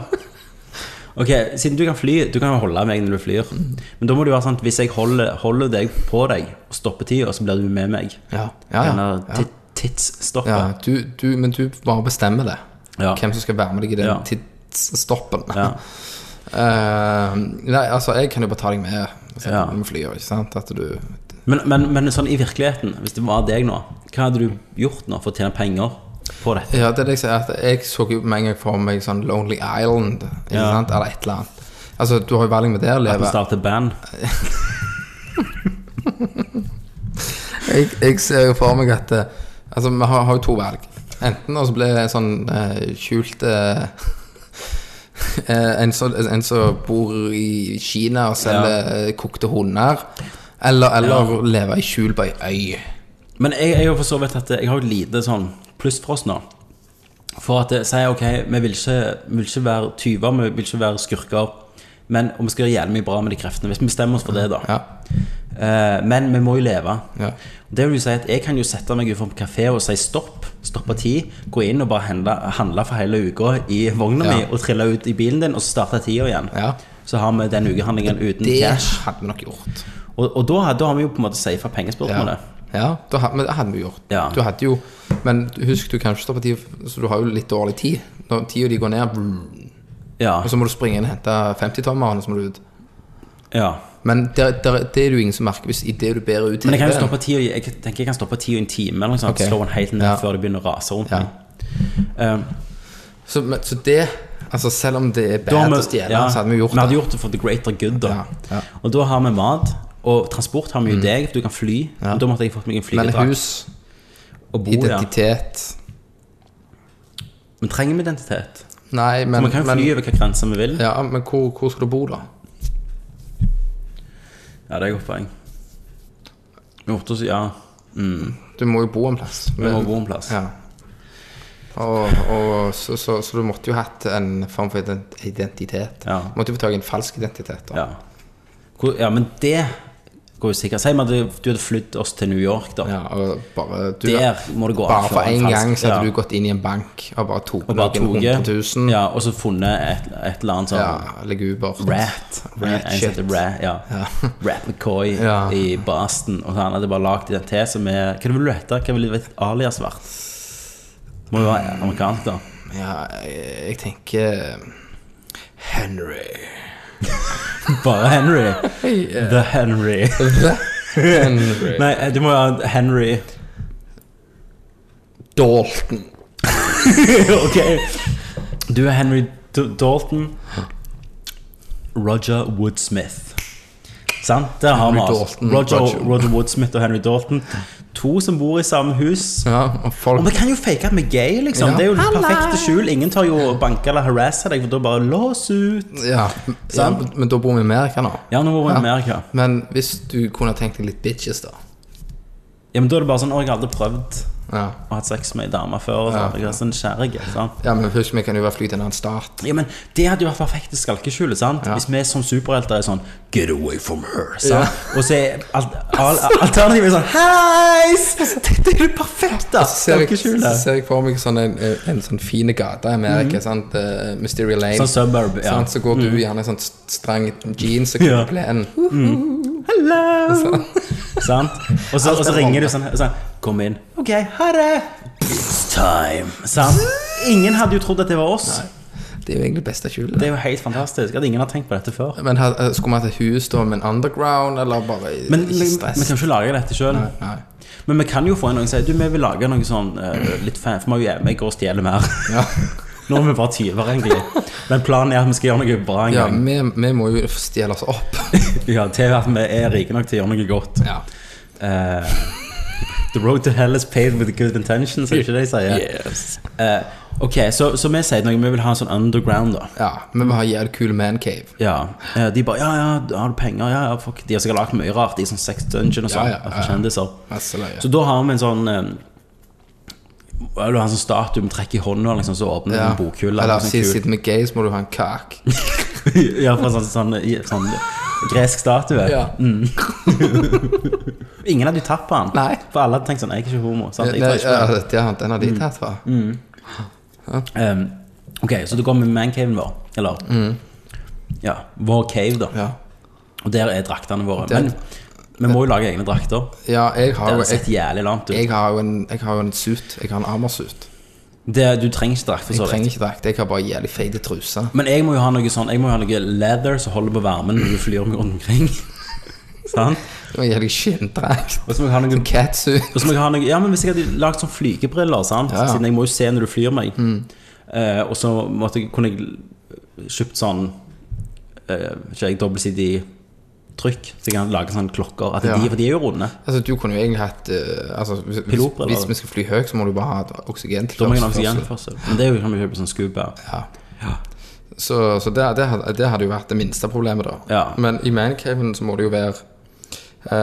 Speaker 1: Ok, Siden du kan fly, du kan jo holde meg når du flyr. Men da må det jo være sånn at hvis jeg holder, holder deg på deg og stopper tida, så blir du med meg.
Speaker 5: Ja, ja, ja.
Speaker 1: Denne
Speaker 5: Ja.
Speaker 1: ti- tidsstoppen.
Speaker 5: Ja, du, du, men du bare bestemmer det.
Speaker 1: Ja.
Speaker 5: Hvem som skal være med deg i den
Speaker 1: Ja.
Speaker 5: tidsstoppen.
Speaker 1: Ja.
Speaker 5: Eh, nei, altså, jeg kan jo bare ta deg med. Altså, Så
Speaker 1: Ja.
Speaker 5: Vi flyr, ikke sant? At du
Speaker 1: Men, men, men sånn i virkeligheten, hvis det var deg nå, hva hadde du gjort nå for å tjene penger på dette?
Speaker 5: Ja, det er det jeg sier. At jeg så jo med en gang for meg sånn Lonely Island, ikke
Speaker 1: Ja.
Speaker 5: sant? Eller et eller annet. Altså, du har jo valg med det å
Speaker 1: At vi
Speaker 5: leve.
Speaker 1: starter band?
Speaker 5: Jeg, jeg ser jo for meg at eh, Altså, vi har, har jo to valg. Enten å så bli en sånn eh, skjult eh, eh, en, som- en som bor i Kina og selger eh, kokte hunder. Eller, eller leve i skjul på ei øy.
Speaker 1: Men jeg, jeg har for så vidt at jeg har jo et lite sånn pluss for oss nå. For at jeg sier ok, vi vil ikke, vi vil ikke være tyver, vi vil ikke være skurker. Men og vi skal gjøre jævlig mye bra med de kreftene, hvis vi bestemmer oss for det, da.
Speaker 5: Ja.
Speaker 1: Eh, men vi må jo leve.
Speaker 5: Ja.
Speaker 1: Det vil jo si at jeg kan jo sette meg utenfor en kafé og si stopp. Stoppe tid. Gå inn og bare handle, handle for hele uka i vogna
Speaker 5: Ja.
Speaker 1: mi og trille ut i bilen din, og så starte tida igjen.
Speaker 5: Ja.
Speaker 1: Så har vi den ukehandlingen uten
Speaker 5: Det
Speaker 1: cash.
Speaker 5: hadde vi nok gjort.
Speaker 1: Og, og da, da har vi jo på en måte safa pengespørsmålet.
Speaker 5: Ja, da hadde, men det hadde vi gjort.
Speaker 1: Ja.
Speaker 5: Du hadde jo, men husk, du kan ikke stoppe tid, så du har jo litt dårlig tid. Når tida di går ned,
Speaker 1: Ja.
Speaker 5: og så må du springe inn og hente 50-tommeren, og så må du ut. Altså-
Speaker 1: ja.
Speaker 5: Men der, der, det er det jo ingen som merker hvis i det du bærer ut
Speaker 1: Men jeg kan jo
Speaker 5: TV-en.
Speaker 1: stoppe tida i- jeg tenker jeg kan stoppe tida i en time, eller noe sånt.
Speaker 5: Ok.
Speaker 1: Slå den helt ned
Speaker 5: Ja.
Speaker 1: Eh, før det begynner å rase rundt
Speaker 5: Ja.
Speaker 1: meg. Eh,
Speaker 5: Så, men- så det Altså, selv om det er
Speaker 1: Da har
Speaker 5: bad å stjele, så hadde vi gjort
Speaker 1: vi hadde
Speaker 5: det.
Speaker 1: gjort det for the greater good. da
Speaker 5: Ja, ja.
Speaker 1: Og da har vi mat. Og transport har vi jo deg, for du kan fly. Og da måtte jeg fått meg en
Speaker 5: Men
Speaker 1: flygedrakt.
Speaker 5: hus,
Speaker 1: og bo, ja.
Speaker 5: identitet
Speaker 1: Men trenger vi identitet?
Speaker 5: Nei, men,
Speaker 1: For vi kan jo
Speaker 5: men,
Speaker 1: fly over hvilke grenser vi vil. Ja,
Speaker 5: ja, men hvor, hvor skal du bo, da?
Speaker 1: det er et godt poeng. Vi måtte også, ja Mm,
Speaker 5: Du må jo bo en plass.
Speaker 1: Vi må
Speaker 5: men-
Speaker 1: bo en plass.
Speaker 5: Ja. Og, og, så, så, så du måtte jo hatt en form for ident- identitet.
Speaker 1: Ja.
Speaker 5: Måtte jo få tak i en falsk identitet. Da.
Speaker 1: Ja. Hvor, ja, men det går jo sikkert. Si at du hadde flydd oss til New York, da.
Speaker 5: Ja, og bare, du,
Speaker 1: Der må det gå an
Speaker 5: bare for
Speaker 1: å
Speaker 5: én
Speaker 1: en falsk-
Speaker 5: gang så hadde
Speaker 1: ja.
Speaker 5: du gått inn i en bank og bare tok
Speaker 1: og bare
Speaker 5: noen hundre tusen.
Speaker 1: toget. Ja, og så funnet et, et eller annet sånn
Speaker 5: Ja, legubert.
Speaker 1: Rat.
Speaker 5: Rat
Speaker 1: en
Speaker 5: shit.
Speaker 1: som heter Rat, ja. Rat McCoy
Speaker 5: Ja.
Speaker 1: i Boston. Og så han hadde bare lagd en til som er Hva ville du hete? Hva ville ditt alias vært? Må jo være amerikansk, da.
Speaker 5: Ja, jeg, jeg tenker eh, Henry.
Speaker 1: Bare Henry. The Henry.
Speaker 5: Henry.
Speaker 1: Nei, du må ha Henry
Speaker 5: Dalton.
Speaker 1: Ok. Du er Henry D Dalton. Roger Woodsmith. Sant? Der har vi
Speaker 5: Henry
Speaker 1: oss.
Speaker 5: Dalton,
Speaker 1: Roger,
Speaker 5: Roger.
Speaker 1: Roger Woodsmith og Henry Dalton. To som bor i samme hus.
Speaker 5: Ja, og folk
Speaker 1: Og vi kan jo fake at vi er gay, liksom.
Speaker 5: Ja.
Speaker 1: Det er jo det
Speaker 5: Hallo.
Speaker 1: perfekte skjul. Ingen tar jo og banker eller harasser deg, for da bare lås ut.
Speaker 5: ja, ja,
Speaker 1: Sant?
Speaker 5: men da bor vi i Amerika nå.
Speaker 1: Ja, nå bor vi i Amerika.
Speaker 5: Men hvis du kunne tenkt deg litt bitches, da.
Speaker 1: Ja, men da er det bare sånn Å, jeg har aldri prøvd
Speaker 5: Ja,
Speaker 1: å ha sex med ei dame før. Og sånn. Jeg er sånn skjærig, sant?
Speaker 5: ja men husk, vi kan jo bare fly til en annen stat.
Speaker 1: Ja, men Det hadde jo vært perfekte skalkeskjul. sant? Hvis vi som superhelter er sånn Get away from her. sant? Og så er alt, al, alternativet er sånn Heis! Dette er det perfekte
Speaker 5: Ser jeg,
Speaker 1: skalkeskjulet.
Speaker 5: ser jeg for meg sånn en, en sånn fin gate i Amerika, sant? eh, Mystery Lane.
Speaker 1: Mhm. Sånn suburb. ja. Mhm.
Speaker 5: sant? Så går du gjerne i sånn strang jeans og
Speaker 1: Ja.
Speaker 5: knuplene.
Speaker 1: Hello! Sant? Og så, og så
Speaker 5: er
Speaker 1: ringer du
Speaker 5: vanlig.
Speaker 1: sånn, sånn Kom inn. Ok, ha det! It's time. Sant? Ingen hadde jo trodd at det var oss.
Speaker 5: Det er jo egentlig det beste skjulet.
Speaker 1: Det er jo helt fantastisk at ingen har tenkt på dette før.
Speaker 5: Men ha- eh, skulle vi hatt et hus da med en underground, eller bare i-
Speaker 1: Men
Speaker 5: ikke
Speaker 1: vi
Speaker 5: stress?
Speaker 1: kan jo ikke lage dette sjøl.
Speaker 5: Nei.
Speaker 1: Men vi kan jo få en noen som sier Du, vi vil lage noe sånn eh, litt fan, for vi er jo hjemme, jeg går og stjeler mer.
Speaker 5: Ja,
Speaker 1: Nå er vi bare tyver, egentlig. Men planen er at vi skal gjøre noe bra en
Speaker 5: ja
Speaker 1: gang.
Speaker 5: vi, vi må jo stjele oss opp.
Speaker 1: Ja, til at vi er rike nok til å gjøre noe godt.
Speaker 5: Ja.
Speaker 1: Eh, the road to hell is paved with good intentions, er det ikke det de sier? Eh, ok, så, så vi sier noe, vi vil ha en sånn underground da.
Speaker 5: ja men vi har jævlig kul mancave.
Speaker 1: Ja, eh, de bare, ja, ja, har du penger? Ja, ja, fuck. De har sikkert lagt mye rart i sånn sex dungeon og
Speaker 5: Ja,
Speaker 1: sånn,
Speaker 5: ja, ja,
Speaker 1: for
Speaker 5: ja.
Speaker 1: kjendiser.
Speaker 5: Masse løye.
Speaker 1: Så da har vi en sånn... Eh, ja, du har en sånn statue med trekk i hånda, liksom, så åpner du
Speaker 5: Ja.
Speaker 1: en bokhylle.
Speaker 5: Eller
Speaker 1: sånn
Speaker 5: si-
Speaker 1: kul-
Speaker 5: sitter med gay, så må du ha en kak.
Speaker 1: ja, fra sånn, sånn, i- sånn gresk statue.
Speaker 5: Mm.
Speaker 1: Ingen hadde jo tatt på han.
Speaker 5: Nei.
Speaker 1: For alle hadde tenkt sånn, jeg er ikke homo. Sant? Jeg
Speaker 5: Nei,
Speaker 1: tar ikke på
Speaker 5: ja,
Speaker 1: han.
Speaker 5: det har- den har
Speaker 1: Mm.
Speaker 5: de tatt fra.
Speaker 1: Ehm, ok, så da går vi med mancaven vår, eller? Ja, vår cave da.
Speaker 5: Mm. Ja.
Speaker 1: Og der er draktene våre.
Speaker 5: Der-
Speaker 1: Men vi må jo lage egne drakter.
Speaker 5: ja, jeg har
Speaker 1: Det
Speaker 5: jo
Speaker 1: hadde sett
Speaker 5: jeg,
Speaker 1: jævlig lamt ut.
Speaker 5: jeg har jo en, jeg har jo en suit. Jeg har en armorsuit.
Speaker 1: Det, du trenger ikke drakt for
Speaker 5: Jeg
Speaker 1: så
Speaker 5: trenger
Speaker 1: vidt.
Speaker 5: ikke drakt. Jeg har bare jævlig feite truser.
Speaker 1: Men jeg må jo ha noe sånn, jeg må jo ha noe leather som holder på varmen når du flyr meg rundt omkring. Sant?
Speaker 5: Og en jævlig skinndrakt.
Speaker 1: Og så må jeg ha noe...
Speaker 5: En catsuit.
Speaker 1: Og så må jeg ha noe, ja, men Hvis jeg hadde lagd sånn flygebriller, sant?
Speaker 5: Ja, Mm. ja.
Speaker 1: siden jeg må jo se når du flyr meg Eh, Og så måtte, jeg- kunne jeg kjøpt sånn eh, Ikke jeg, dobbeltsidig trykk, så jeg kan lage sånne klokker. At
Speaker 5: Ja.
Speaker 1: de, for de er jo runde.
Speaker 5: Altså, du kunne jo egentlig hatt eh, altså, hvis, hvis,
Speaker 1: Pilotbriller.
Speaker 5: hvis vi skal fly høyt, så må du bare ha et
Speaker 1: Da må jeg ha
Speaker 5: oksygentilførsel.
Speaker 1: oksygenførsel. Men det er jo kan vi kjøpe sånn scuba.
Speaker 5: altså. Ja. Så, så det, det, hadde- det hadde jo vært det minste problemet, da.
Speaker 1: Ja.
Speaker 5: Men i mancaven så må det jo være eh,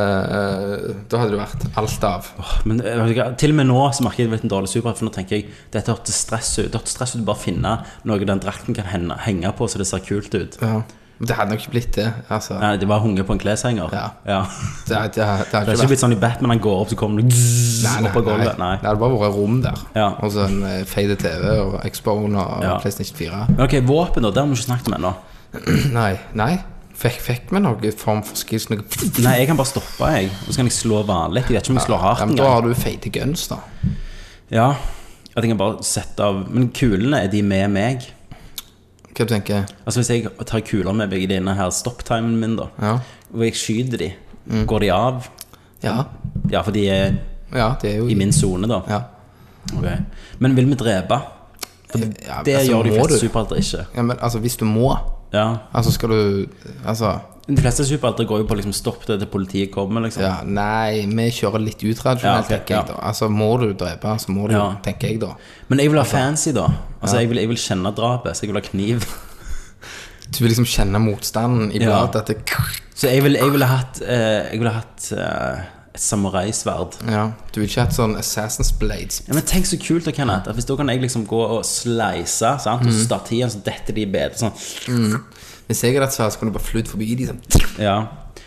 Speaker 5: Da hadde det vært alt av.
Speaker 1: Åh, Men eh, vet du hva, til og med nå så merker jeg litt en dårlig superhelt, for nå tenker jeg dette hørtes stress ut. Det hørtes stress ut å bare finne noe den drakten kan henge, henge på så det ser kult ut.
Speaker 5: Ja. Det hadde nok ikke blitt det. Altså,
Speaker 1: Nei, det var hunge på en kleshenger.
Speaker 5: Ja.
Speaker 1: ja.
Speaker 5: det, det, det hadde
Speaker 1: Det er
Speaker 5: ikke
Speaker 1: ikke
Speaker 5: vært
Speaker 1: blitt sånn i Batman han går opp, så kommer det opp av gulvet. Nei.
Speaker 5: Det hadde bare vært rom der.
Speaker 1: Ja.
Speaker 5: Og så en eh, feit TV og Xbone og
Speaker 1: Ja.
Speaker 5: PlayStation 4.
Speaker 1: Men ok, våpen, da. Det har vi ikke snakket om ennå.
Speaker 5: Nei. nei Fikk, fikk vi noe form for skills? Noe
Speaker 1: Nei, jeg kan bare stoppe, jeg. Og så kan jeg slå vanlig. Jeg vet ikke om jeg slår hardt
Speaker 5: Ja, men da
Speaker 1: engang.
Speaker 5: har du feite guns, da.
Speaker 1: Ja. At jeg kan bare sette av Men kulene, er de med meg?
Speaker 5: Hva du tenker du?
Speaker 1: Altså Hvis jeg tar kuler med begge dine her, stopptimen min, da,
Speaker 5: Ja.
Speaker 1: og jeg skyter de, går de av?
Speaker 5: Mm. ja.
Speaker 1: Ja, for de er
Speaker 5: Ja, det er jo
Speaker 1: i min sone, da.
Speaker 5: Ja.
Speaker 1: Ok. Men vil vi drepe? For det,
Speaker 5: Ja,
Speaker 1: det
Speaker 5: altså,
Speaker 1: gjør de
Speaker 5: må
Speaker 1: fleste
Speaker 5: du?
Speaker 1: superhelter ikke.
Speaker 5: Ja, men altså, hvis du må,
Speaker 1: Ja.
Speaker 5: altså skal du Altså,
Speaker 1: De fleste superhelter går jo på liksom stopp det til politiet kommer, liksom.
Speaker 5: ja, nei, vi kjører litt
Speaker 1: Ja,
Speaker 5: utradisjonelt,
Speaker 1: ok,
Speaker 5: tenker jeg
Speaker 1: ja.
Speaker 5: da. Altså, må du drepe, så må du,
Speaker 1: Ja.
Speaker 5: tenker jeg da.
Speaker 1: Men jeg vil ha fancy, da. Altså, jeg, vil, jeg vil kjenne drapet, så jeg vil ha kniv.
Speaker 5: Du vil liksom kjenne motstanden i
Speaker 1: Ja.
Speaker 5: bladet. at det-
Speaker 1: Så jeg ville jeg vil ha hatt, eh, jeg vil ha hatt eh, et samuraisverd.
Speaker 5: Ja, du vil ikke ha et sånn Assassin's Blades.
Speaker 1: Ja, men tenk så kult, da, Kenneth. At hvis da kan jeg liksom gå og slice, sant? og
Speaker 5: Mhm.
Speaker 1: statien, så detter de i bed. Sånn.
Speaker 5: Hvis jeg hadde hatt sverd, så kunne du bare flydd forbi de sånn.
Speaker 1: Ja.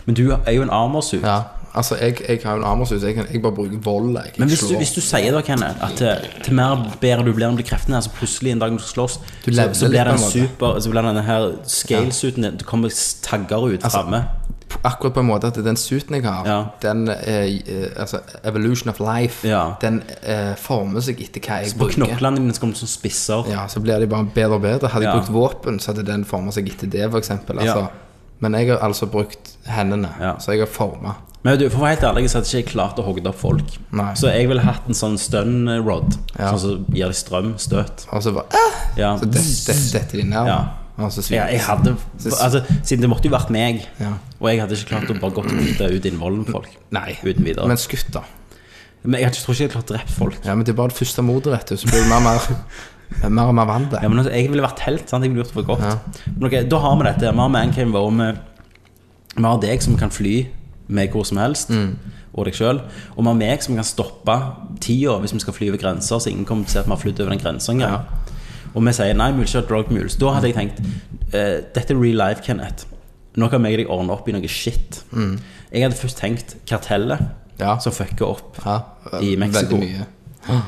Speaker 1: Men du er jo en armorsuit.
Speaker 5: Ja, altså, jeg, jeg har jo en armorsus, jeg, kan- jeg bare bruker vold. Jeg kan
Speaker 1: Men
Speaker 5: ikke
Speaker 1: hvis du,
Speaker 5: slå.
Speaker 1: hvis du sier da, Kenneth, at eh, til mer bedre du blir enn du blir kreftene, så plutselig en dag når du skal slåss,
Speaker 5: Du
Speaker 1: så,
Speaker 5: leveler
Speaker 1: så
Speaker 5: litt
Speaker 1: blir
Speaker 5: på en
Speaker 1: den
Speaker 5: måte.
Speaker 1: super, så blir denne her scalesuiten din, det kommer tagger ut
Speaker 5: Altså-
Speaker 1: framme.
Speaker 5: Akkurat på en måte at den suiten jeg har,
Speaker 1: Ja.
Speaker 5: den eh, eh, altså, Evolution of life,
Speaker 1: Ja.
Speaker 5: den eh, former seg etter hva jeg
Speaker 1: På
Speaker 5: bruker.
Speaker 1: knoklene dine så kommer det sånn spisser.
Speaker 5: Ja, så blir de bare bedre og bedre. Hadde jeg
Speaker 1: Ja.
Speaker 5: brukt våpen, så hadde den forma seg etter det, f.eks. Altså.
Speaker 1: Ja.
Speaker 5: Men jeg har altså brukt hendene,
Speaker 1: Ja.
Speaker 5: så jeg har forma.
Speaker 1: Men du, for å være helt ærlig så hadde ikke jeg klart å hogge opp folk.
Speaker 5: Nei.
Speaker 1: Så jeg ville hatt en sånn stun rod,
Speaker 5: Ja.
Speaker 1: sånn som gir deg strøm, støt.
Speaker 5: Og så bare ah!
Speaker 1: Ja.
Speaker 5: Så det- det- dette de ned.
Speaker 1: Ja.
Speaker 5: Og så
Speaker 1: Ja,
Speaker 5: syr
Speaker 1: jeg hadde Altså, siden det måtte jo vært meg,
Speaker 5: Ja.
Speaker 1: og jeg hadde ikke klart å bare gått og bytte ut innvollen på folk.
Speaker 5: Nei.
Speaker 1: Uten videre.
Speaker 5: Men
Speaker 1: Men,
Speaker 5: skutt, da.
Speaker 1: jeg hadde- tror ikke jeg hadde klart å drept folk.
Speaker 5: Ja, men det er bare det første mordet, vet du. Så blir du mer og mer, mer, og mer vant til
Speaker 1: Ja,
Speaker 5: det.
Speaker 1: men altså, jeg ville vært helt, sant? Jeg ville gjort det for godt. Men ok, da har vi dette. Vi har Mancave, og vi, vi har deg som kan fly med hvor som helst, og deg sjøl. Og vi har meg som kan stoppe tida hvis vi skal fly over grenser, så ingen kommer til å se at vi har flydd over den grensa engang. Og vi sier nei, vi vil ikke ha drug mules. Da hadde jeg tenkt eh, dette er real life, Kenneth. Nå kan jeg og deg ordne opp i noe shit. Jeg hadde først tenkt kartellet
Speaker 5: Ja.
Speaker 1: som fucker opp.
Speaker 5: Ja,
Speaker 1: I Mexico.
Speaker 5: Veldig mye.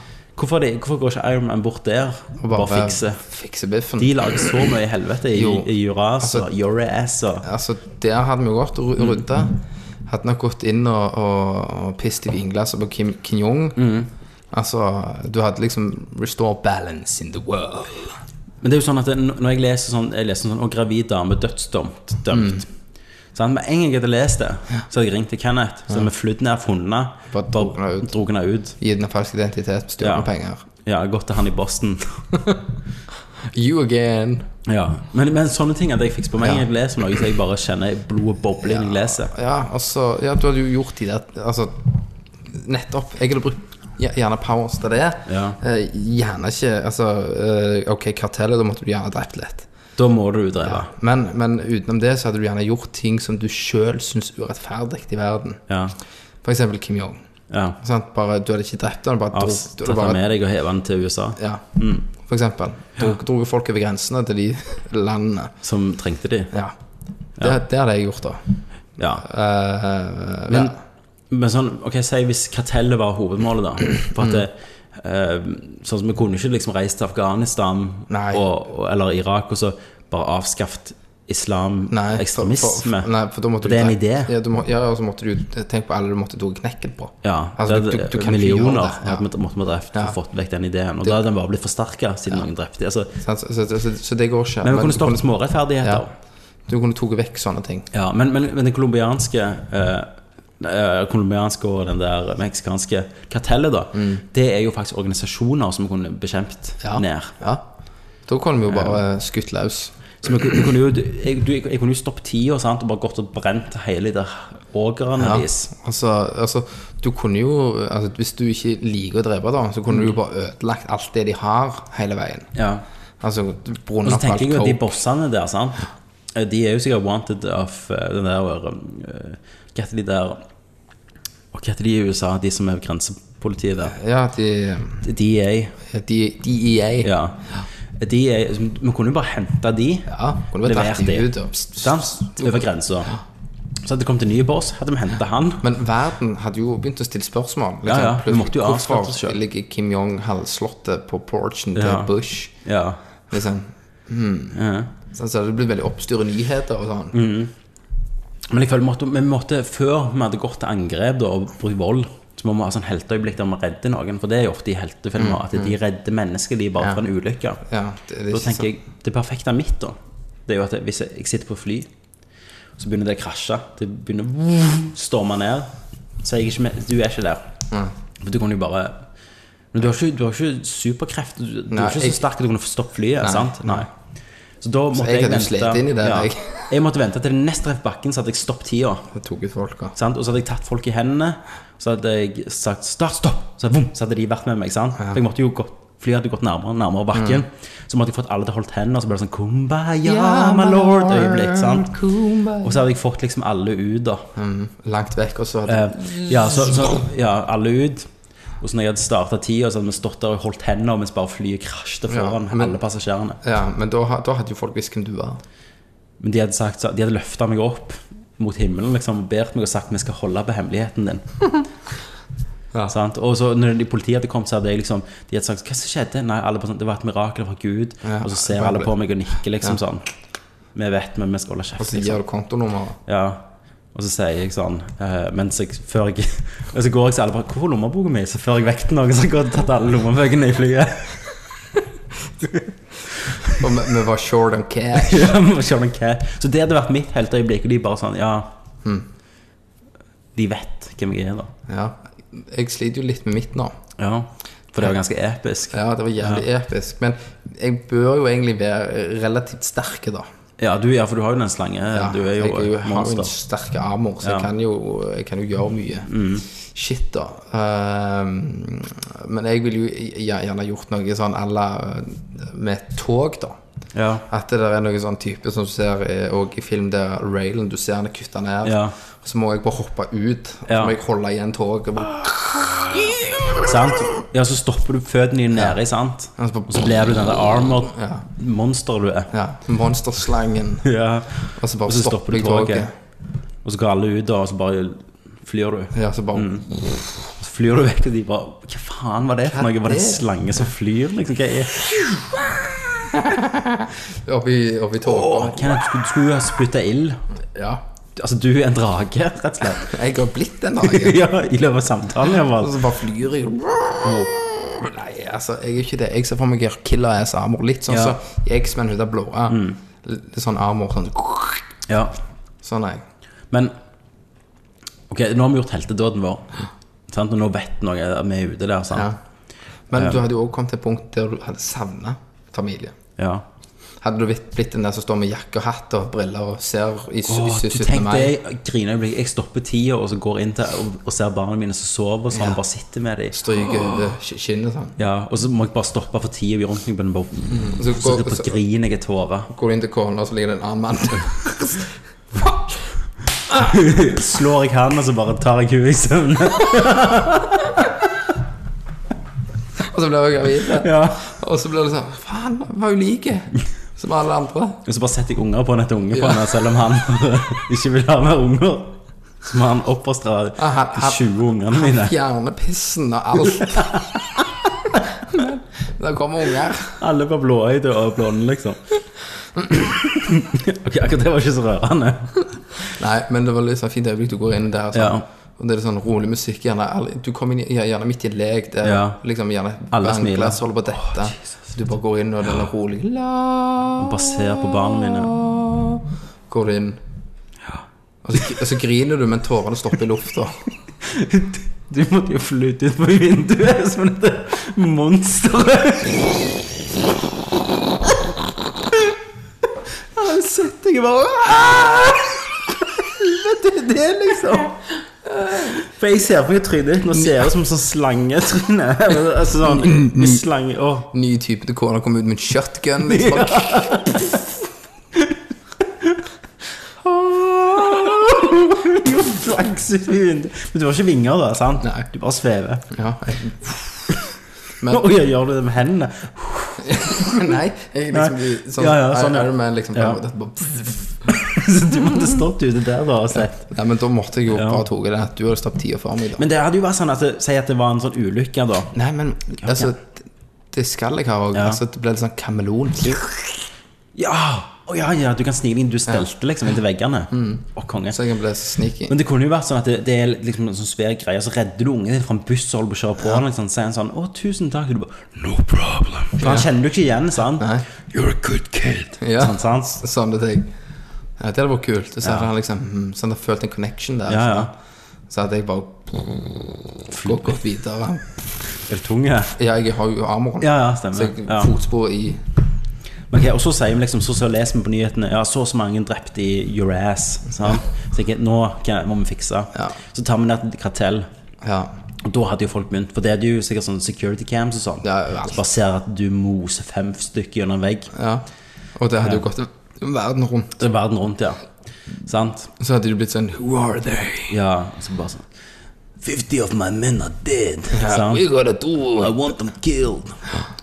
Speaker 1: Hvorfor, er det, hvorfor går ikke Iron Man bort der og bare, fikser?
Speaker 5: fikse biffen.
Speaker 1: De lager så mye helvete i,
Speaker 5: Jo.
Speaker 1: i Juras
Speaker 5: Altså-
Speaker 1: og Jurass og
Speaker 5: Altså, der hadde vi jo gått og ru-
Speaker 1: Mm.
Speaker 5: rydda. Hadde nok gått inn og, og, og pisset i vinglasset på Kim Kim Jong.
Speaker 1: Mm.
Speaker 5: Altså, du hadde liksom Restore balance in the world.
Speaker 1: Men det er jo sånn at det, når jeg leser sånn Jeg leser sånn Og gravid dame dødsdømt Dømt Sånn, med en gang jeg hadde lest det Så hadde jeg ringt til Kenneth Så hadde vi flytt ned funnet
Speaker 5: Bare drog henne ut.
Speaker 1: Drog henne ut
Speaker 5: Gi den en falsk identitet,
Speaker 1: Ja.
Speaker 5: stjålne penger.
Speaker 1: Ja, gått til han i Boston
Speaker 5: You again.
Speaker 1: Ja Men, men sånne ting at jeg fikser på meg
Speaker 5: Ja.
Speaker 1: Jeg leser noe Så jeg bare kjenner blodet boble Når jeg leser
Speaker 5: Ja, altså, ja, du hadde jo gjort de der Altså, nettopp. Jeg hadde brukt gje- gjerne powers til det.
Speaker 1: Ja.
Speaker 5: Eh, gjerne ikke Altså, eh, ok, kartellet, da måtte du gjerne drept litt.
Speaker 1: Da må du utdreve
Speaker 5: Men, men utenom det så hadde du gjerne gjort ting som du sjøl syns urettferdig i verden.
Speaker 1: Ja
Speaker 5: For eksempel Kim Jong.
Speaker 1: Ja
Speaker 5: Sant? Bare, du hadde ikke drept ham, bare dro, du
Speaker 1: Avstøtte
Speaker 5: hadde bare,
Speaker 1: med Mm. deg Og heve den til USA
Speaker 5: ja, For eksempel. Dro, dro folk over grensene til de landene.
Speaker 1: Som trengte de
Speaker 5: Ja. Det, det hadde jeg gjort, da.
Speaker 1: Ja
Speaker 5: Eh,
Speaker 1: Men,
Speaker 5: ja.
Speaker 1: men sånn, ok, si hvis kartellet var hovedmålet da For at det,
Speaker 5: Mm.
Speaker 1: eh, Sånn som vi kunne ikke liksom reise til Afghanistan
Speaker 5: Nei.
Speaker 1: og, og, Eller Irak og så bare avskaffet islam
Speaker 5: Nei, for-
Speaker 1: ekstremisme
Speaker 5: for- nei, for da måtte
Speaker 1: Det er en
Speaker 5: du drept-
Speaker 1: idé.
Speaker 5: Ja, du må, ja, og så måtte du Tenk på alle du måtte ta knekken på.
Speaker 1: Ja,
Speaker 5: Altså,
Speaker 1: det
Speaker 5: du-
Speaker 1: er
Speaker 5: du- du kan ikke gjøre
Speaker 1: millioner
Speaker 5: det, ja.
Speaker 1: hadde vi- måtte vi drept
Speaker 5: Ja.
Speaker 1: og fått vekk den ideen Og
Speaker 5: Det-
Speaker 1: da hadde den bare blitt forsterket siden noen drepte altså,
Speaker 5: Sant? Så, så, så, så det går ikke.
Speaker 1: Men vi kunne
Speaker 5: du,
Speaker 1: stoppet
Speaker 5: kunne,
Speaker 1: smårettferdigheter
Speaker 5: Ja. du kunne tatt vekk sånne ting.
Speaker 1: Ja, men, men, men den kolumbianske eh, eh, Kolumbianske og den der meksikanske kartellet, da. Det er jo faktisk organisasjoner som kunne bekjempet
Speaker 5: Mm. Ja.
Speaker 1: ned.
Speaker 5: Ja. Da kunne vi jo bare eh, skutt løs.
Speaker 1: Så vi, kunne- vi kunne jo, jeg, du, jeg kunne jo stoppet tida sant, og bare gått og brent hele det ågrene
Speaker 5: Ja.
Speaker 1: deres.
Speaker 5: Altså, altså, du kunne jo altså, Hvis du ikke liker å drepe, da, så kunne du jo bare ødelagt alt det de har, hele veien.
Speaker 1: Ja.
Speaker 5: Altså,
Speaker 1: Og
Speaker 5: brunnet
Speaker 1: så
Speaker 5: opp alt
Speaker 1: tenker jeg jo at de
Speaker 5: coke.
Speaker 1: bossene der, sant eh, De er jo sikkert wanted of eh, den der eh, Hva heter de der Og hva heter de i USA, de som er grensepolitiet der?
Speaker 5: Ja, de,
Speaker 1: DA.
Speaker 5: de, de E EA. Ja.
Speaker 1: Ja. De er, vi kunne jo bare hente de.
Speaker 5: kunne vi
Speaker 1: Levert
Speaker 5: dratt de
Speaker 1: de.
Speaker 5: ut og pst, pst,
Speaker 1: Sant? Over grensa. Så hadde det kommet en ny boss, hadde vi henta han.
Speaker 5: Men verden hadde jo begynt å stille spørsmål. Liksom,
Speaker 1: Ja, ja, vi
Speaker 5: Plutselig,
Speaker 1: måtte jo avsløre oss selv.
Speaker 5: Hvorfor ligger Kim Jong halvslottet på porchen til
Speaker 1: Ja.
Speaker 5: Bush?
Speaker 1: Ja.
Speaker 5: Liksom.
Speaker 1: ja.
Speaker 5: Så så det blir veldig oppstyr i nyheter og sånn.
Speaker 1: Men jeg føler vi måtte, vi måtte før vi hadde gått til angrep da, og brukt vold, så må vi ha sånn helteøyeblikk der vi redder noen. For det er jo ofte i heltefilmer at de redder menneskeliv bare
Speaker 5: Ja.
Speaker 1: fra en ulykke.
Speaker 5: Ja, det, det er
Speaker 1: Da
Speaker 5: ikke
Speaker 1: tenker
Speaker 5: sånn.
Speaker 1: jeg det perfekte mitt, da, det er jo at jeg- hvis jeg, jeg sitter på et fly, så begynner det å krasje. Det begynner å storme ned. Så er jeg ikke med, du er ikke der. For du kunne jo bare Men du har ikke, du har ikke superkreft. Du, du
Speaker 5: Nei,
Speaker 1: er ikke
Speaker 5: jeg-
Speaker 1: så sterk at du kan stoppe flyet.
Speaker 5: Nei,
Speaker 1: sant? Nei. Så da måtte
Speaker 5: jeg
Speaker 1: jeg,
Speaker 5: hadde
Speaker 1: vente
Speaker 5: slitt inn i det, jeg.
Speaker 1: jeg måtte vente til det nest treff bakken, så hadde jeg stoppet tida.
Speaker 5: Jeg tok ut folk, altså. da.
Speaker 1: Sant? Og så hadde jeg tatt folk i hendene. Så hadde jeg sagt 'start, stopp', så, boom, så hadde de vært med meg. Sant? For jeg måtte jo gått, Flyet hadde gått nærmere og nærmere bakken.
Speaker 5: Mm.
Speaker 1: Så måtte jeg fått alle til å holde hender, så ble det sånn 'Kumbaya, my lord'-øyeblikk. sant?
Speaker 5: Kumbaya.
Speaker 1: Og så hadde jeg fått liksom alle ut, da.
Speaker 5: Mm, langt vekk, og så hadde
Speaker 1: Eh, ja, så, så, ja, alle ut. Og så når jeg hadde starta tida, så hadde vi stått der og holdt hender mens bare flyet krasjte foran
Speaker 5: Ja, men-
Speaker 1: alle passasjerene.
Speaker 5: Ja, men da, ha- da hadde jo folk visst hvem du var.
Speaker 1: Men de hadde, sagt- de hadde løfta meg opp mot himmelen liksom, og bedt meg og sagt vi skal holde på hemmeligheten din.
Speaker 5: Ja.
Speaker 1: Sant? Og så når de- politiet hadde kommet, så hadde jeg liksom De hadde sagt 'Hva som skjedde?' Nei, alle bare sånn, det var et mirakel fra Gud.
Speaker 5: Ja,
Speaker 1: og så ser
Speaker 5: bare-
Speaker 1: alle på meg og nikker liksom sånn. Vi vet, men vi skal holde
Speaker 5: Og
Speaker 1: kjeft.
Speaker 5: så
Speaker 1: Liksom.
Speaker 5: gir du kontonummeret.
Speaker 1: Ja. Og så sier jeg sånn eh, mens jeg, før jeg, Og så går jeg så alle bare 'Hvor er lommeboka mi?' Så før jeg vekter noen, så går jeg og tatt alle lommebøkene i flyet.
Speaker 5: Og vi, vi var short on cash.
Speaker 1: Ja, men skjønner du hva? Så det hadde vært mitt helteøyeblikk, og de bare sånn Ja. De vet hvem jeg er, da.
Speaker 5: Ja. Jeg sliter jo litt med mitt nå.
Speaker 1: Ja. For det var ganske episk.
Speaker 5: Ja, det var jævlig episk. Men jeg bør jo egentlig være relativt sterk, da.
Speaker 1: Ja, du, ja, for du har jo den slange.
Speaker 5: Ja,
Speaker 1: du er jo
Speaker 5: jeg, jeg
Speaker 1: et
Speaker 5: har jo en
Speaker 1: monster.
Speaker 5: sterk armor, så jeg,
Speaker 1: Ja. Mm.
Speaker 5: kan jo, jeg kan jo gjøre mye. Shit, da. Ehm, men jeg ville jo gj- gjerne gjort noe sånn à la eh, med et tog, da.
Speaker 1: Ja.
Speaker 5: At det der er noen sånn type som du ser eh, og i film der railen du ser den er kutta ned.
Speaker 1: Ja.
Speaker 5: Og Så må jeg bare hoppe ut. og Så
Speaker 1: Ja.
Speaker 5: må jeg holde igjen toget. og bare-
Speaker 1: Sant? Ja, så stopper du føttene dine nedi, sant?
Speaker 5: Og så bare-
Speaker 1: Og så blir du den der armored-monsteret du er.
Speaker 5: Ja, Monsterslangen.
Speaker 1: Ja.
Speaker 5: Og så bare
Speaker 1: Og så
Speaker 5: stopper
Speaker 1: stopper du
Speaker 5: jeg toget.
Speaker 1: toget. Og så går alle ut, da, og så bare flyr du.
Speaker 5: Ja, så bare
Speaker 1: Mm. Så flyr du vekk, og de bare Hva faen var det for
Speaker 5: Hva
Speaker 1: noe? Var det en
Speaker 5: det?
Speaker 1: slange som flyr, liksom? Hva er
Speaker 5: oppi, oppi toget.
Speaker 1: Kenneth, skulle- du skulle jo ha spytta ild.
Speaker 5: Ja.
Speaker 1: Altså, du er en drage, rett og slett.
Speaker 5: Jeg har blitt en dag.
Speaker 1: ja, I løpet av samtalen,
Speaker 5: Og
Speaker 1: iallfall.
Speaker 5: så bare flyr jeg. Nei, altså, jeg er ikke det. Jeg ser for meg killer ass armor. Litt sånn
Speaker 1: Ja. Mm.
Speaker 5: som i X-Men hun der blå. ja. Litt sånn armor. Sånn,
Speaker 1: Ja.
Speaker 5: sånn er jeg.
Speaker 1: Men Ok, nå har vi gjort heltedåden vår. Sant? Og nå vet noen at vi er ute der,
Speaker 5: Ja.
Speaker 1: sant?
Speaker 5: Men du hadde jo også kommet til et punkt der du hadde savna familie.
Speaker 1: Ja.
Speaker 5: Hadde du blitt blitt den der som står med jakke og hatt og briller og ser i, s-
Speaker 1: Åh,
Speaker 5: i s-
Speaker 1: du
Speaker 5: 17.
Speaker 1: tenkte
Speaker 5: mai?
Speaker 1: jeg griner øyeblikk. Jeg stopper tida og så går inn til og, og ser barna mine som sover, og sånn, og bare sitter med dem.
Speaker 5: Stryker over sk- skinnet sånn.
Speaker 1: Ja, og så må jeg bare stoppe for tida rundt meg, men bare
Speaker 5: Og så
Speaker 1: Mm. så
Speaker 5: går,
Speaker 1: bare
Speaker 5: så
Speaker 1: griner jeg i tårer.
Speaker 5: går du inn til kona, og så ligger det en annen mann.
Speaker 1: Slår jeg han, og så bare tar jeg henne i søvn.
Speaker 5: og så blir hun gravid.
Speaker 1: Ja.
Speaker 5: Og så blir det sånn Faen, hun var jo lik som alle andre.
Speaker 1: Og så bare setter jeg unger på han etter unger på han, selv om han ikke vil ha mer unger. Så må han oppfostre
Speaker 5: Ja, han- han-
Speaker 1: de 20 ungene mine.
Speaker 5: Fjerne pissen og alt. Der kommer unger.
Speaker 1: Alle var blåøyde og blonde, liksom. ok, akkurat det var ikke så rørende.
Speaker 5: Nei, men det var litt sånn fint øyeblikk du går inn der. Sånn.
Speaker 1: Ja.
Speaker 5: Og det er litt sånn rolig musikk. Gjerne, alle- du kommer inn, i- gjerne midt i en lek der
Speaker 1: Ja.
Speaker 5: liksom gjerne
Speaker 1: Alle
Speaker 5: hver
Speaker 1: smiler.
Speaker 5: glass holder på dette. du bare går inn, og det er rolig La
Speaker 1: Bare ser på barna mine.
Speaker 5: Går du inn. Og så, og så griner du, men tårene stopper i lufta.
Speaker 1: Du måtte jo flytte ut på vinduet som dette monsteret. Han setter jeg bare «Ah!» Helvete, det er liksom For jeg ser på meg trynet ditt. Nå ser jeg ut som en sånn slangetryne. Altså sånn en slange Åh.
Speaker 5: Ny type til kona kommer ut med en shotgun. Liksom.
Speaker 1: Du flakser ut i vinduet. Men du har ikke vinger, da, sant?
Speaker 5: Nei.
Speaker 1: Du bare svever.
Speaker 5: Ja. jeg- Men-
Speaker 1: Oi, jeg gjør du det med hendene?
Speaker 5: Nei, jeg liksom
Speaker 1: Nei.
Speaker 5: blir sånn,
Speaker 1: Ja, ja, sånn, ja.
Speaker 5: Iron Man liksom
Speaker 1: Ja.
Speaker 5: bare- bare-
Speaker 1: Så du måtte stått ute der da og sett.
Speaker 5: Nei, men da måtte jeg jo
Speaker 1: Ja.
Speaker 5: bare toge det at du hadde stoppet tida for meg da.
Speaker 1: Men det hadde jo vært sånn at det, Si at det var en sånn ulykke, da.
Speaker 5: Nei, men altså det- Det skal jeg ha òg.
Speaker 1: Ja.
Speaker 5: Altså, det ble litt sånn kameleon.
Speaker 1: Ja! Å ja, ja, du kan snike deg inn. Du stelte liksom inntil veggene. Å, konge.
Speaker 5: Mm. Så jeg kan bli så sneaky.
Speaker 1: Men det kunne jo vært sånn at det, det er liksom en sånn svær greie, og så redder du ungen din fra en buss som holder på å kjøre på, og liksom, sier han sånn 'Å, tusen takk.' Og du bare 'No problem'. For han kjenner du ikke igjen, sant?
Speaker 5: Nei.
Speaker 1: You're a good kid.
Speaker 5: Ja.
Speaker 1: Sånn, sant?
Speaker 5: Sånne ting. Ja, det hadde vært kult. Så hadde han liksom mm, Så hadde jeg følt en connection der.
Speaker 1: Ja, ja.
Speaker 5: Så hadde jeg bare gått, gått videre.
Speaker 1: Er det tunge?
Speaker 5: Ja, jeg har jo armoren.
Speaker 1: Ja, ja,
Speaker 5: Så
Speaker 1: stemmer.
Speaker 5: jeg
Speaker 1: Ja.
Speaker 5: fotspor i
Speaker 1: Men ok, og så sier vi liksom, så, så leser vi på nyhetene Ja, så og så mange drept i your ass sant? Så jeg, nå kan- må vi fikse
Speaker 5: Ja.
Speaker 1: Så tar vi ned til kartell
Speaker 5: Ja.
Speaker 1: Og da hadde jo folk begynt For det er jo sikkert sånn security cams og sånn
Speaker 5: Ja, overalt.
Speaker 1: Så bare ser at du moser fem stykker gjennom en vegg
Speaker 5: ja. Og det hadde jo gått verden rundt.
Speaker 1: Det er verden rundt, ja Sant?
Speaker 5: Så hadde du blitt sånn Who are they?
Speaker 1: Ja, og så bare sånn 50 of my men are dead sant?
Speaker 5: We gotta do
Speaker 1: I want them killed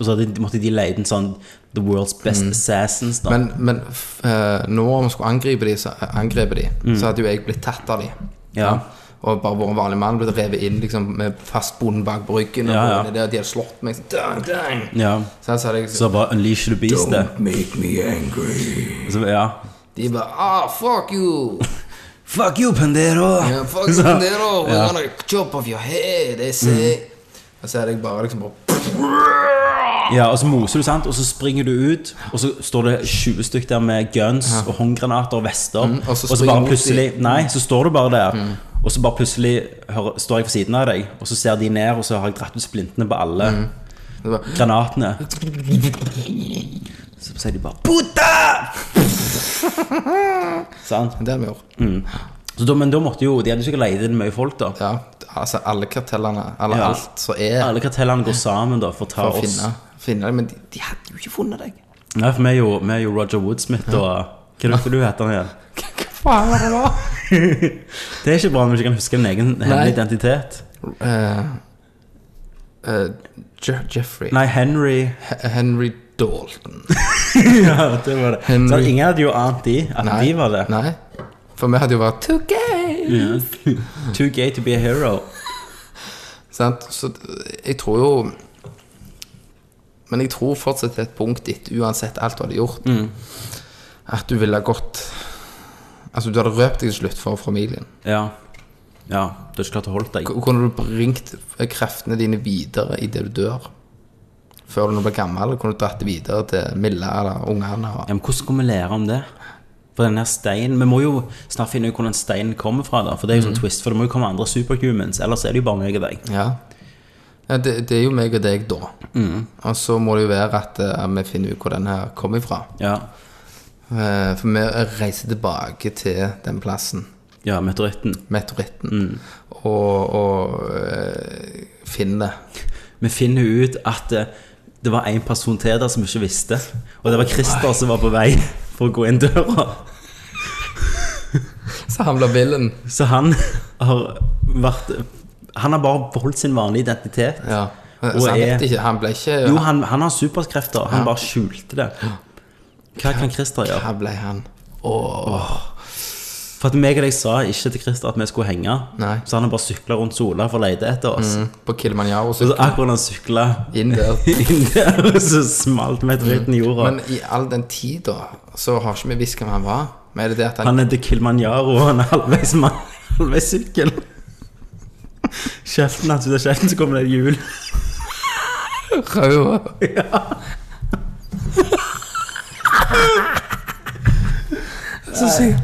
Speaker 1: Og så hadde, måtte de leie den sånn The world's best assassins da
Speaker 5: Men, men f- eh, når vi skulle angripe de, så, eh, angripe de
Speaker 1: Mm.
Speaker 5: så hadde jo jeg blitt tatt av de.
Speaker 1: Ja.
Speaker 5: Og bare vært en vanlig mann, blitt revet inn liksom, med fast bonde bak på ryggen. Og
Speaker 1: Ja, ja.
Speaker 5: båndet Der, de hadde slått meg sånn dang, dang.
Speaker 1: Ja
Speaker 5: Så jeg sa det
Speaker 1: Så bare unleash the beast det
Speaker 5: Don't make me angry.
Speaker 1: Så, Ja
Speaker 5: De bare Ah, fuck you!
Speaker 1: Fuck you, Pandero!
Speaker 5: Yeah, fuck you, Nero. We're gonna chop off your head. I say. Og så er jeg bare liksom bare
Speaker 1: Ja, og så moser du, sant? Og så springer du ut, og så står det 20 stykker der med guns og håndgranater og vester.
Speaker 5: Mm, og
Speaker 1: og
Speaker 5: så
Speaker 1: så,
Speaker 5: springer Mm.
Speaker 1: bare
Speaker 5: mot
Speaker 1: plutselig Nei, så står du bare der. Og så bare plutselig hører, står jeg ved siden av deg, og så ser de ned, og så har jeg dratt ut splintene på alle
Speaker 5: Mm. Det var-
Speaker 1: granatene. Så sier de bare Puta! sant?
Speaker 5: Det har vi gjort.
Speaker 1: Mm. Så da, men da måtte jo De hadde sikkert leid inn mye folk, da.
Speaker 5: Ja, altså alle kartellene, eller
Speaker 1: Ja.
Speaker 5: alt som er
Speaker 1: Alle kartellene går sammen da for å ta
Speaker 5: for å
Speaker 1: oss.
Speaker 5: finne, finne det, men de, de hadde jo ikke funnet deg.
Speaker 1: Nei, for vi er jo, vi er jo Roger Woodsmith og Hva heter du heter han igjen?
Speaker 5: Hva faen var det da?
Speaker 1: Det er ikke bra når du ikke kan huske din egen hemmelig identitet.
Speaker 5: Eh, eh, Je Jeffrey.
Speaker 1: Nei, Henry
Speaker 5: He- Henry Dalton.
Speaker 1: Ja, det var det.
Speaker 5: Henry.
Speaker 1: Så ingen hadde jo ant de, at de var det.
Speaker 5: Nei. For vi hadde jo vært too gay.
Speaker 1: Ja. Too gay to be a hero.
Speaker 5: Sant? Så d- jeg tror jo Men jeg tror fortsatt til et punkt ditt, uansett alt du hadde gjort, at du ville ha gått Altså, du hadde røpt deg til slutt for familien.
Speaker 1: Ja. Ja, du har ikke klart å holde deg.
Speaker 5: K- Kunne du bringt kreftene dine videre idet du dør? Før du nå ble gammel? Kunne du dratt det videre til Milla eller ungene? og-
Speaker 1: Ja, men hvordan skal vi lære om det? For den her steinen Vi må jo snart finne ut hvor den steinen kommer fra, da. For det er
Speaker 5: Mhm.
Speaker 1: jo sånn twist, for det må jo komme andre superhumans. Ellers er det jo bare meg og deg.
Speaker 5: Ja. ja det, det er jo meg og deg da. Og så må det jo være at eh, vi finner ut hvor den her kommer fra.
Speaker 1: Ja.
Speaker 5: Eh, for vi reiser tilbake til den plassen,
Speaker 1: Ja, meteoritten.
Speaker 5: meteoritten,
Speaker 1: Mm.
Speaker 5: og, og eh, finner
Speaker 1: Vi finner ut at eh, det var en person til der som vi ikke visste. Og det var Christer som var på vei for å gå inn døra.
Speaker 5: Så han blir villen.
Speaker 1: Så han har vært Han har bare beholdt sin vanlige identitet.
Speaker 5: Ja. Eh,
Speaker 1: Og
Speaker 5: Så han
Speaker 1: er-
Speaker 5: vet ikke, han ble ikke
Speaker 1: Jo, han, han har superkrefter. Han bare skjulte det. Hva kan Christer gjøre?
Speaker 5: Hva ble han?
Speaker 1: For at meg og deg sa ikke til Christer at vi skulle henge.
Speaker 5: Nei. Mm.
Speaker 1: Så han har bare sykla rundt Sola for å lete etter oss.
Speaker 5: På Kilimanjaro
Speaker 1: Og
Speaker 5: så
Speaker 1: så akkurat han sykla
Speaker 5: inn der.
Speaker 1: inn der, og så smalt meteoritten i jorda.
Speaker 5: Men i all den tid da, så har ikke vi visst hvem han var. Men er det det at han,
Speaker 1: Han er til Kilimanjaro, og han er halvveis mann, halvveis sykkel. Kjeften hans ut av kjeften, så kommer det et hjul.
Speaker 5: Rød. Så sier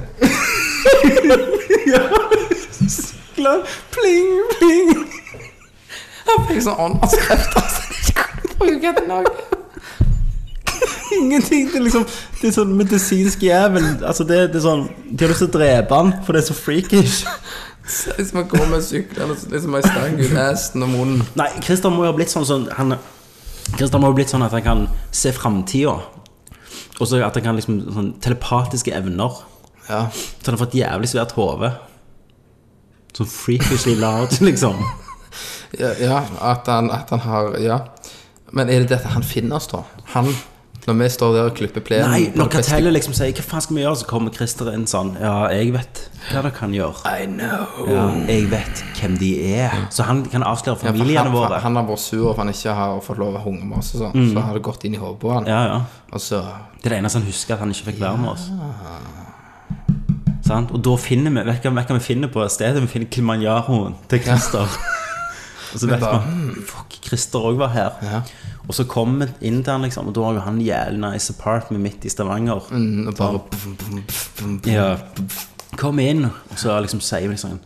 Speaker 1: Klar, Pling, pling.
Speaker 5: han fikk sånn åndskrift altså. Jeg kunne bruke det noe.
Speaker 1: Ingenting. Det er liksom Det er sånn medisinsk jævel. Altså, det, det er sånn De har lyst til å drepe han, for det er så freakish.
Speaker 5: Så Hvis man går med sykler og så liksom en stang ut hesten og munnen.
Speaker 1: Nei, Christer må jo ha blitt sånn sånn han, Christer må ha blitt sånn at han kan se framtida. Og så at han kan liksom sånn telepatiske evner.
Speaker 5: Ja.
Speaker 1: Så han har fått jævlig svært hode. Sånn freakishly large, liksom.
Speaker 5: Ja, ja at, han, at han har Ja. Men er det det at han finner oss, da? Han Når vi står der og klipper plenen
Speaker 1: Nei,
Speaker 5: på
Speaker 1: når
Speaker 5: det beste-
Speaker 1: kartellet liksom sier 'hva faen skal vi gjøre', så kommer Christer inn sånn 'ja, jeg vet hva dere kan gjøre'.
Speaker 5: I know.
Speaker 1: Ja, jeg vet hvem de er. Så han kan avsløre
Speaker 5: Ja, for
Speaker 1: familiene
Speaker 5: han,
Speaker 1: våre. Mm.
Speaker 5: han har vært sur for han ikke har fått lov å hunge med oss. og Sånn. Så har det gått inn i hodet på han.
Speaker 1: Ja, ja.
Speaker 5: Og så
Speaker 1: Det er det eneste han husker, at han ikke fikk være med oss. Sant? Og da finner vi Vet du hva- vet du hva vi finner på stedet? Vi finner Kilimanjaroen til Christer. og så vet
Speaker 5: bare,
Speaker 1: vi Fuck, Christer òg var her. Og så kom vi inn til han, liksom, og da har jo han jævlig nice apartment midt i Stavanger. Sånn,
Speaker 5: mm, og bare pff, pff, pff, pff, pff.
Speaker 1: Ja. Kom inn, og så liksom sier vi liksom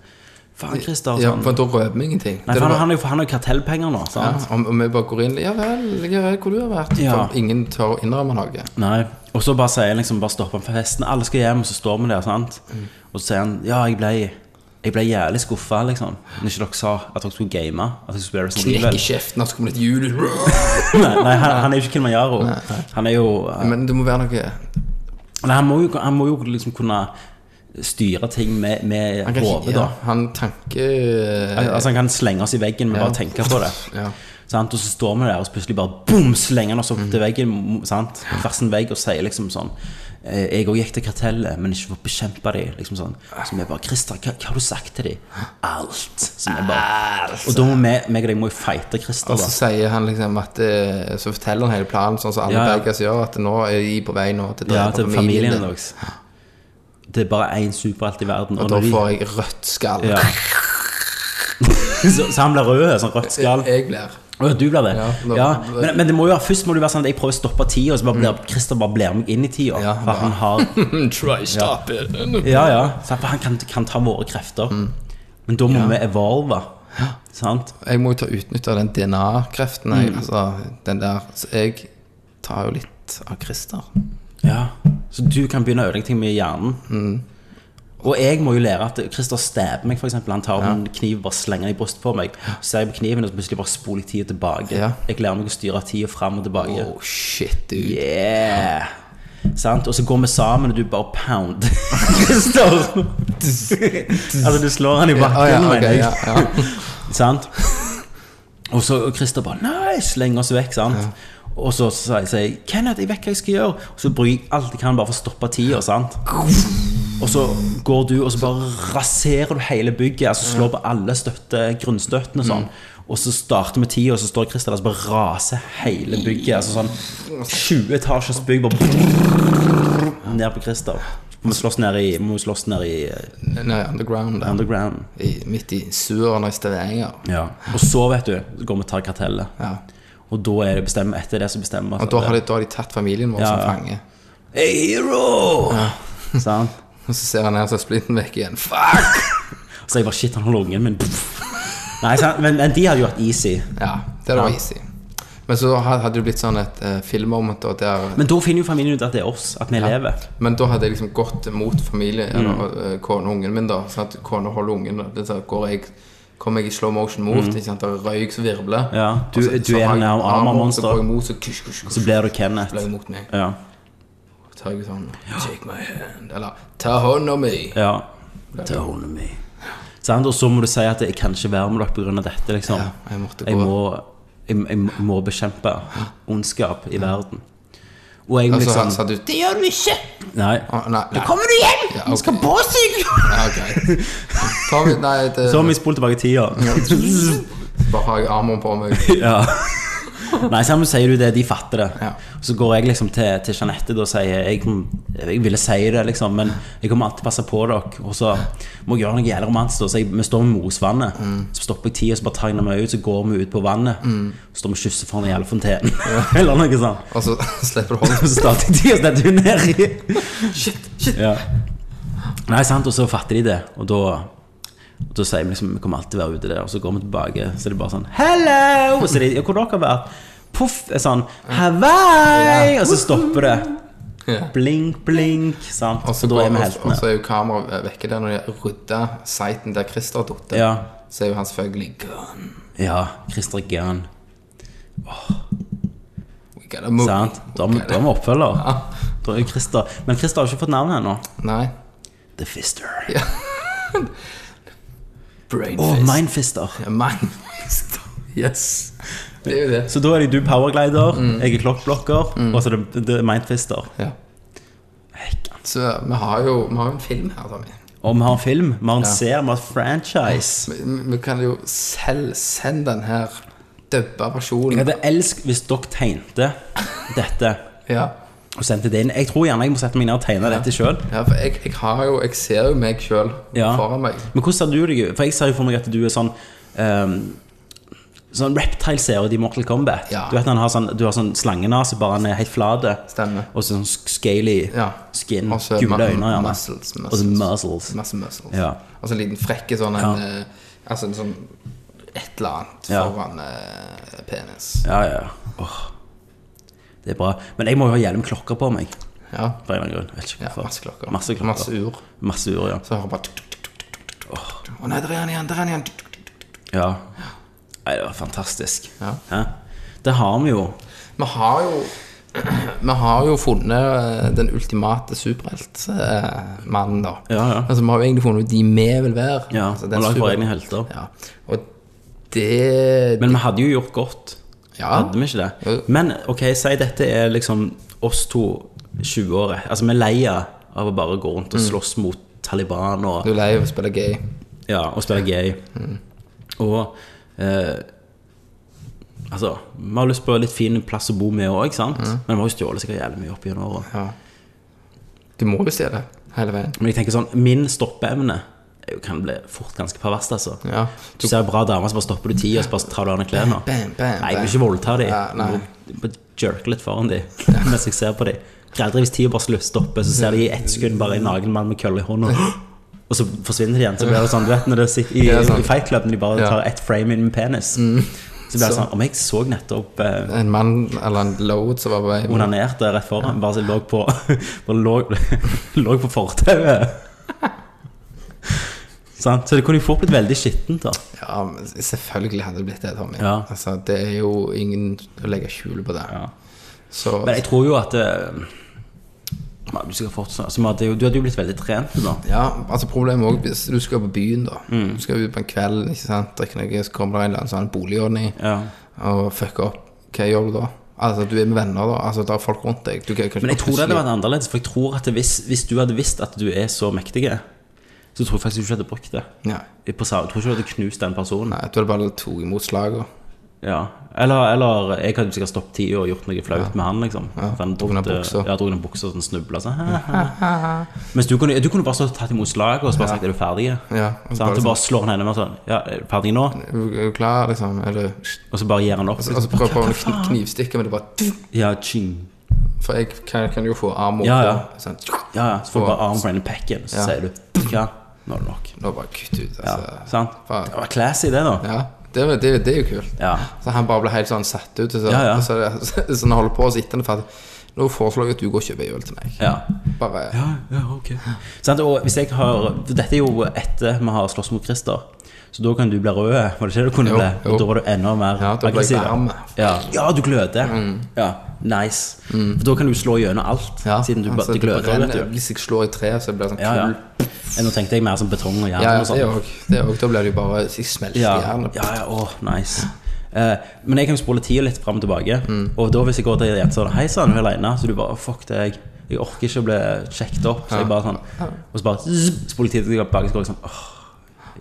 Speaker 1: Faen, Christer.
Speaker 5: Ja,
Speaker 1: sånn.
Speaker 5: for da røper vi ingenting.
Speaker 1: Nei,
Speaker 5: Det
Speaker 1: for
Speaker 5: er
Speaker 1: han,
Speaker 5: bare-
Speaker 1: han, er jo, han har jo kartellpenger nå,
Speaker 5: ja,
Speaker 1: sant?
Speaker 5: om, om vi bare går inn Ja vel, jeg vet hvor du har vært.
Speaker 1: Ja.
Speaker 5: For ingen tør å innrømme noe.
Speaker 1: Nei. Og så bare sier han liksom Bare stopper han for festen. Alle skal hjem, og så står vi der, sant?
Speaker 5: Mm.
Speaker 1: Og så sier han Ja, jeg ble Jeg ble jævlig skuffa, liksom. Når ikke dere sa at dere skulle game. At dere skulle spille Resident
Speaker 5: Knekk i
Speaker 1: Evil.
Speaker 5: kjeften, og så kommer det et hjul
Speaker 1: Nei, nei han, han er jo ikke Kilimanjaro. Han er jo eh,
Speaker 5: Men det må være noe
Speaker 1: Nei, han må jo, han må jo liksom kunne styre ting med, med
Speaker 5: Han kan
Speaker 1: hodet,
Speaker 5: ikke ja,
Speaker 1: da.
Speaker 5: Han tanke...
Speaker 1: Al- Altså Han kan slenge oss i veggen med
Speaker 5: Ja.
Speaker 1: bare å tenke på det.
Speaker 5: Ja.
Speaker 1: Sant? Og så står vi der, og så plutselig bare boom, slenger han oss
Speaker 5: Mhm.
Speaker 1: opp til veggen. Sant? Tvers en vegg og sier liksom sånn eh, Jeg òg gikk til kartellet, men ikke for å bekjempe dem. Liksom sånn. Så vi bare Christer, hva, hva har du sagt til dem? Alt. Så vi bare, og da må vi, meg og deg må jo fighte Christer,
Speaker 5: Og så
Speaker 1: da.
Speaker 5: sier han liksom at eh, Så forteller han hele planen, sånn som alle
Speaker 1: Ja, ja.
Speaker 5: Bergers gjør, at nå er de på vei nå til å
Speaker 1: Ja,
Speaker 5: drepe
Speaker 1: til familien deres. Det er bare én superhelt i verden.
Speaker 5: Og
Speaker 1: når
Speaker 5: da
Speaker 1: vi-
Speaker 5: får jeg rødt skall.
Speaker 1: ja. så, så han blir rød, sånn rødt skall.
Speaker 5: Jeg blir
Speaker 1: Å, du blir det?
Speaker 5: Ja,
Speaker 1: Ja,
Speaker 5: da-
Speaker 1: Men, men det må jo være, først må det jo være sånn at jeg prøver å stoppe tida, og så bare blir Christer bare blir meg inn i tida.
Speaker 5: Mm. Ja,
Speaker 1: for han har
Speaker 5: Try stop it.
Speaker 1: Ja, ja. Så at han kan, kan ta våre krefter.
Speaker 5: Mm.
Speaker 1: Men da må vi evolve. Sant?
Speaker 5: Jeg må jo ta utnytte av den DNA-kreften. jeg,
Speaker 1: Mm.
Speaker 5: Altså, den der Så jeg tar jo litt av Christer.
Speaker 1: Ja. Så du kan begynne å ødelegge ting med hjernen.
Speaker 5: Mm.
Speaker 1: Og jeg må jo lære at Christer stabber meg, for eksempel Han tar en kniv og bare slenger den i brystet på meg. Så ser jeg på kniven, og så plutselig bare spoler jeg tida tilbake.
Speaker 5: Ja.
Speaker 1: Jeg lærer meg å styre tida fram og tilbake.
Speaker 5: Oh shit, dude.
Speaker 1: Yeah! Sant? Og så går vi sammen, og du bare pound. Står. altså, du slår han i bakken,
Speaker 5: Å, ja, ok,
Speaker 1: mener jeg.
Speaker 5: ja, ja.
Speaker 1: Sant? Og så og Christer bare Nei, slenger oss vekk, sant? Og så sier sier jeg Kenneth, jeg vet hva jeg skal gjøre. Og så bruker jeg alt jeg kan bare for å stoppe tida, sant? Og så går du og så bare raserer du hele bygget, altså slår på alle støtte, grunnstøttene og sånn. Og så starter vi tida, og så står Christer der og så bare raser hele bygget. Altså sånn 20 etasjers bygg bare brrrr, ned på Christer. Må slåss ned i, må slåss ned i eh,
Speaker 5: Nei, underground der.
Speaker 1: underground.
Speaker 5: I, midt i Suren og i Stavanger.
Speaker 1: Ja. Og så, vet du, så går vi og tar kartellet.
Speaker 5: Ja.
Speaker 1: Og da er det bestemmer, etter det så bestemmer vi
Speaker 5: Og da har, de, da har de tatt familien vår
Speaker 1: Ja,
Speaker 5: som
Speaker 1: ja.
Speaker 5: fange.
Speaker 1: Hey, hero! Sant?
Speaker 5: Og så ser han her, så er splitten vekk igjen. Fuck!
Speaker 1: Så jeg bare Shit, han holder ungen min. Pff. Nei, sant? Men, men de hadde jo hatt easy.
Speaker 5: Ja, det var easy. Men så had- hadde det blitt sånn et uh, filmmoment da, der men,
Speaker 1: Men da finner jo familien ut at det er oss, at vi lever.
Speaker 5: da hadde jeg liksom gått mot familie,
Speaker 1: Mm.
Speaker 5: eller eh, kone og ungen min, da. Sånn at kone holder ungen. og Det, så går jeg Kommer jeg i slow motion mot, ikke sant? der er røyk som virvler.
Speaker 1: Mm. Ja, du-
Speaker 5: Og så-
Speaker 1: du
Speaker 5: så
Speaker 1: er
Speaker 5: har jeg
Speaker 1: nær
Speaker 5: armer,
Speaker 1: armermonster.
Speaker 5: Så går jeg mot, så kush, kush, kush,
Speaker 1: Så blir du
Speaker 5: blir
Speaker 1: Kenneth.
Speaker 5: jeg mot meg.
Speaker 1: Ja.
Speaker 5: Så tar jeg sånn Take my hand. Eller Ta hånda mi.
Speaker 1: ja. Ta hånda mi. Sant? Og så må du si at jeg kan ikke være med dere pga. dette, liksom.
Speaker 5: Ja, jeg måtte
Speaker 1: Jeg
Speaker 5: gå.
Speaker 1: må, jeg, jeg må bekjempe ondskap i verden. Og jeg må
Speaker 5: Og så
Speaker 1: liksom
Speaker 5: sa du Det gjør du ikke!
Speaker 1: Nei.
Speaker 5: Å, nei, nei.
Speaker 1: Kommer du hjem?
Speaker 5: Ja, ok.
Speaker 1: påsyke!
Speaker 5: Ja, ok. Tommy, nei, det,
Speaker 1: Så har vi spolt tilbake tida.
Speaker 5: bare har jeg armen på meg.
Speaker 1: Ja. Nei, sammen sier du det, de fatter det.
Speaker 5: Ja.
Speaker 1: Så går jeg liksom til, til Jeanette da, og sier jeg, jeg ville si det, liksom, men jeg kommer alltid passe på dere. Og så må jeg gjøre noe jævlig romantisk. da, Så jeg, vi står ved Mosvannet. Så stopper jeg tida, så bare tegner vi ut, så går vi ut på vannet. Så står vi og kysser foran en jævla fontene. Eller noe sånt.
Speaker 5: Og så slipper du hånden.
Speaker 1: Så starter jeg tida, og så detter hun ned i
Speaker 5: Shit, shit.
Speaker 1: ja. Nei, sant, og så fatter de det Og da, og da sier vi liksom Vi kommer alltid være ute der Og så går vi tilbake Så er det bare sånn Hello! Og så er de, ja, hvor dere har vært? Puff, er sånn Hawaii! Og så stopper det
Speaker 5: Ja.
Speaker 1: Blink, blink sant?
Speaker 5: Og
Speaker 1: Og
Speaker 5: så,
Speaker 1: da er vi
Speaker 5: går, og, og
Speaker 1: heltene
Speaker 5: så er jo kameraet vekke der når de rydder siten der Christer datt.
Speaker 1: Ja,
Speaker 5: Så er jo han selvfølgelig gone.
Speaker 1: ja Christer Gunn
Speaker 5: We gotta move.
Speaker 1: Sant? Da er vi- da er vi oppfølger Da er jo Christer Men Christer har jo ikke fått navnet ennå
Speaker 5: Nei.
Speaker 1: The Fister
Speaker 5: Brain
Speaker 1: Åh,
Speaker 5: fist.
Speaker 1: Mindfister
Speaker 5: Ja, Mind fist. Yes. Det er jo det.
Speaker 1: Så da er det du powerglider
Speaker 5: Mm.
Speaker 1: Jeg er klokkblokker Og så er det, det er Mindfister
Speaker 5: Ja.
Speaker 1: Hekken
Speaker 5: Så vi har jo vi har jo en film her, Tommy.
Speaker 1: Og vi har en film, vi har en
Speaker 5: Ja.
Speaker 1: serie, vi har et franchise.
Speaker 5: Vi, vi- vi kan jo selv sende den her dubba
Speaker 1: Jeg
Speaker 5: versjonen.
Speaker 1: hadde elsket hvis dere tegnte dette
Speaker 5: Ja.
Speaker 1: og sendte det inn. Jeg tror gjerne jeg må sette meg ned og tegne dette sjøl.
Speaker 5: ja, for jeg, jeg har jo Jeg ser jo meg sjøl
Speaker 1: Ja.
Speaker 5: foran meg.
Speaker 1: Men hvordan ser du deg ut? For jeg ser jo for meg at du er sånn ehm, Sånn reptile-serie i Mortal Kombat.
Speaker 5: Ja.
Speaker 1: Du vet han har sånn, du har sånn slangenase, bare han er helt flate.
Speaker 5: Stemmer.
Speaker 1: Og så sånn scaly
Speaker 5: Ja.
Speaker 1: skin.
Speaker 5: Og så
Speaker 1: Gule
Speaker 5: ma-
Speaker 1: øyne, gjerne.
Speaker 5: muscles,
Speaker 1: Og så
Speaker 5: muscles.
Speaker 1: muscles.
Speaker 5: Masse muscles.
Speaker 1: Ja.
Speaker 5: Og så en liten frekke sånn en,
Speaker 1: Ja.
Speaker 5: eh, Altså en sånn et eller annet
Speaker 1: Ja.
Speaker 5: foran eh, penis.
Speaker 1: Ja, ja. Åh. Det er bra. Men jeg må jo ha hjelm klokker på meg.
Speaker 5: Ja.
Speaker 1: For en eller annen grunn. Jeg Vet ikke
Speaker 5: ja
Speaker 1: hvorfor.
Speaker 5: masse klokker.
Speaker 1: Masse klokker.
Speaker 5: Masse ur.
Speaker 1: Masse ur, ja.
Speaker 5: Så hører du bare tuk, tuk, tuk, tuk, tuk, tuk, tuk, tuk. Å nei, der er han igjen! Der er han igjen! Tuk, tuk, tuk, tuk, tuk.
Speaker 1: ja. Nei, det var fantastisk.
Speaker 5: Ja.
Speaker 1: Hæ? Det har vi jo.
Speaker 5: Vi har jo vi har jo funnet eh, den ultimate superheltmannen, da.
Speaker 1: Ja, ja.
Speaker 5: Altså, vi har jo egentlig funnet ut de vi vil være.
Speaker 1: Ja,
Speaker 5: altså,
Speaker 1: og
Speaker 5: den
Speaker 1: lagd våre
Speaker 5: super-
Speaker 1: egne helter.
Speaker 5: Ja. Og det
Speaker 1: Men vi hadde jo gjort godt.
Speaker 5: Ja.
Speaker 1: Hadde vi ikke det?
Speaker 5: Jo.
Speaker 1: Men ok, si dette er liksom oss to 20-åre. Altså, vi er leia av å bare gå rundt og
Speaker 5: Mm.
Speaker 1: slåss mot Taliban og,
Speaker 5: Du er lei av å spille gay.
Speaker 1: ja, og spille gay. Og eh, Altså, vi har lyst på en litt fin plass å bo med òg, sant? Men vi har jo stjålet sikkert jævlig mye opp gjennom åra.
Speaker 5: Ja. Du må jo se det hele veien.
Speaker 1: Men jeg tenker sånn, min stoppeevne er jo- kan bli fort ganske perverst, altså.
Speaker 5: Ja.
Speaker 1: Du ser en bra dame, så bare stopper du tida, og så bare tar du av deg klærne.
Speaker 5: Bam, bam,
Speaker 1: Nei, jeg vil
Speaker 5: bam.
Speaker 1: ikke voldta dem.
Speaker 5: Ja, nei.
Speaker 1: jeg vil jerke litt foran dem mens jeg ser på dem. Aldri hvis tida bare slu- stopper, så ser de i ett sekund bare en naken mann med kølle i hånda. Og så forsvinner de igjen. Så blir det sånn, du vet når det sitter i,
Speaker 5: Ja, sant.
Speaker 1: i Fight Club, når de bare
Speaker 5: Ja. Mm.
Speaker 1: tar ett frame inn med penis. Så blir det sånn Om jeg så nettopp eh,
Speaker 5: En mann eller en load som var på vei
Speaker 1: onanerte rett foran, bare så lå på Bare lå, lå på fortauet. Sant? Så det kunne jo fort blitt veldig skittent, da.
Speaker 5: Ja, men selvfølgelig hadde det blitt det, Tommy.
Speaker 1: Ja.
Speaker 5: Altså, det er jo ingen å legge skjul på det.
Speaker 1: Ja.
Speaker 5: Så
Speaker 1: Men jeg tror jo at eh, ja, du, skal fortsette, altså, man hadde jo- du hadde jo blitt veldig trent du, da.
Speaker 5: ja, altså problemet er også hvis du skal på byen, da.
Speaker 1: Mm.
Speaker 5: Du skal ut på en kveld, ikke sant, drikke noe, så kommer det en eller annen sånn boligordning
Speaker 1: Ja.
Speaker 5: og fucker opp. Hva gjør du da? Altså, du er med venner, da. Altså, det er folk rundt deg. Du kan kanskje
Speaker 1: Men jeg tror det hadde
Speaker 5: plutselig-
Speaker 1: vært annerledes, for jeg tror at hvis, hvis du hadde visst at du er så mektig, så tror jeg faktisk du ikke hadde brukt det.
Speaker 5: Nei.
Speaker 1: Jeg på sa- jeg tror ikke du hadde knust den personen.
Speaker 5: Nei, du hadde bare tatt imot slaget.
Speaker 1: Ja. Eller, eller jeg hadde sikkert stoppet tida og gjort noe flaut med han. liksom
Speaker 5: Ja,
Speaker 1: For han
Speaker 5: drukket av
Speaker 1: drukte-
Speaker 5: buksa.
Speaker 1: Ja, drukket av buksa og sånn snubla sånn. «Hæ, hæ». Mens du kunne, du kunne bare stått og tatt imot slaget og så bare sagt 'er du ferdig?'
Speaker 5: Ja, og så
Speaker 1: Så han
Speaker 5: bare sånn-
Speaker 1: bare slår han enda mer sånn 'ja, er du ferdig nå?'
Speaker 5: Er du er du klar, liksom? Er du
Speaker 1: Og så bare gir han opp.
Speaker 5: Og så prøver han å kn knivstikke, men det bare
Speaker 1: Ja, ching.
Speaker 5: For jeg kan, kan jo få arm opp
Speaker 1: Ja, ja.
Speaker 5: og sånn,
Speaker 1: Ja, ja. Så får du
Speaker 5: Og-
Speaker 1: bare armen fra inn i pekken, så
Speaker 5: Ja.
Speaker 1: sier du 'vet du hva, nå er det nok'.
Speaker 5: Nå bare kutt ut.
Speaker 1: Ja,
Speaker 5: Altså.
Speaker 1: sant?
Speaker 5: faen.
Speaker 1: Det var classy, det, da.
Speaker 5: Ja, det, var- det, det er jo kult.
Speaker 1: Ja.
Speaker 5: Så han bare ble helt sånn satt ut. og Så,
Speaker 1: Ja, ja.
Speaker 5: og så, så, han holder på å sitte der for at Nå foreslår jeg at du går og kjøper en øl til meg.
Speaker 1: Ja.
Speaker 5: Bare
Speaker 1: Ja, ja, ok Sant, Og hvis jeg har for Dette er jo etter vi har slåss mot Christer. Så da kan du bli rød, var det ikke det du kunne
Speaker 5: Jo,
Speaker 1: bli?
Speaker 5: jo.
Speaker 1: Og da var du enda mer
Speaker 5: Ja, da ble jeg
Speaker 1: aggressiv.
Speaker 5: varm. Mm.
Speaker 1: Ja. ja, du gløder. Ja, nice. For da kan du slå gjennom alt, siden du,
Speaker 5: altså,
Speaker 1: bare- det gløder.
Speaker 5: brenner.
Speaker 1: vet du.
Speaker 5: Hvis jeg slår i tre, så blir det sånn
Speaker 1: Ja, ja.
Speaker 5: kull.
Speaker 1: Ja, Nå tenkte jeg mer som betong og jern.
Speaker 5: Ja, ja,
Speaker 1: og sånn. sånt.
Speaker 5: det òg. Det òg. Da blir det jo bare så Jeg smelter i
Speaker 1: Ja,
Speaker 5: jernet.
Speaker 1: ja, ja åh, nice. Eh, men jeg kan jo spole tida litt fram og tilbake.
Speaker 5: Mm.
Speaker 1: Og da hvis jeg går til en jente sånn Hei sann, hun er aleine. Så du bare Fuck deg. Jeg orker ikke å bli sjekket opp. Så jeg bare sånn Og så bare zzz, spoler tida tilbake. Så går jeg sånn Åh,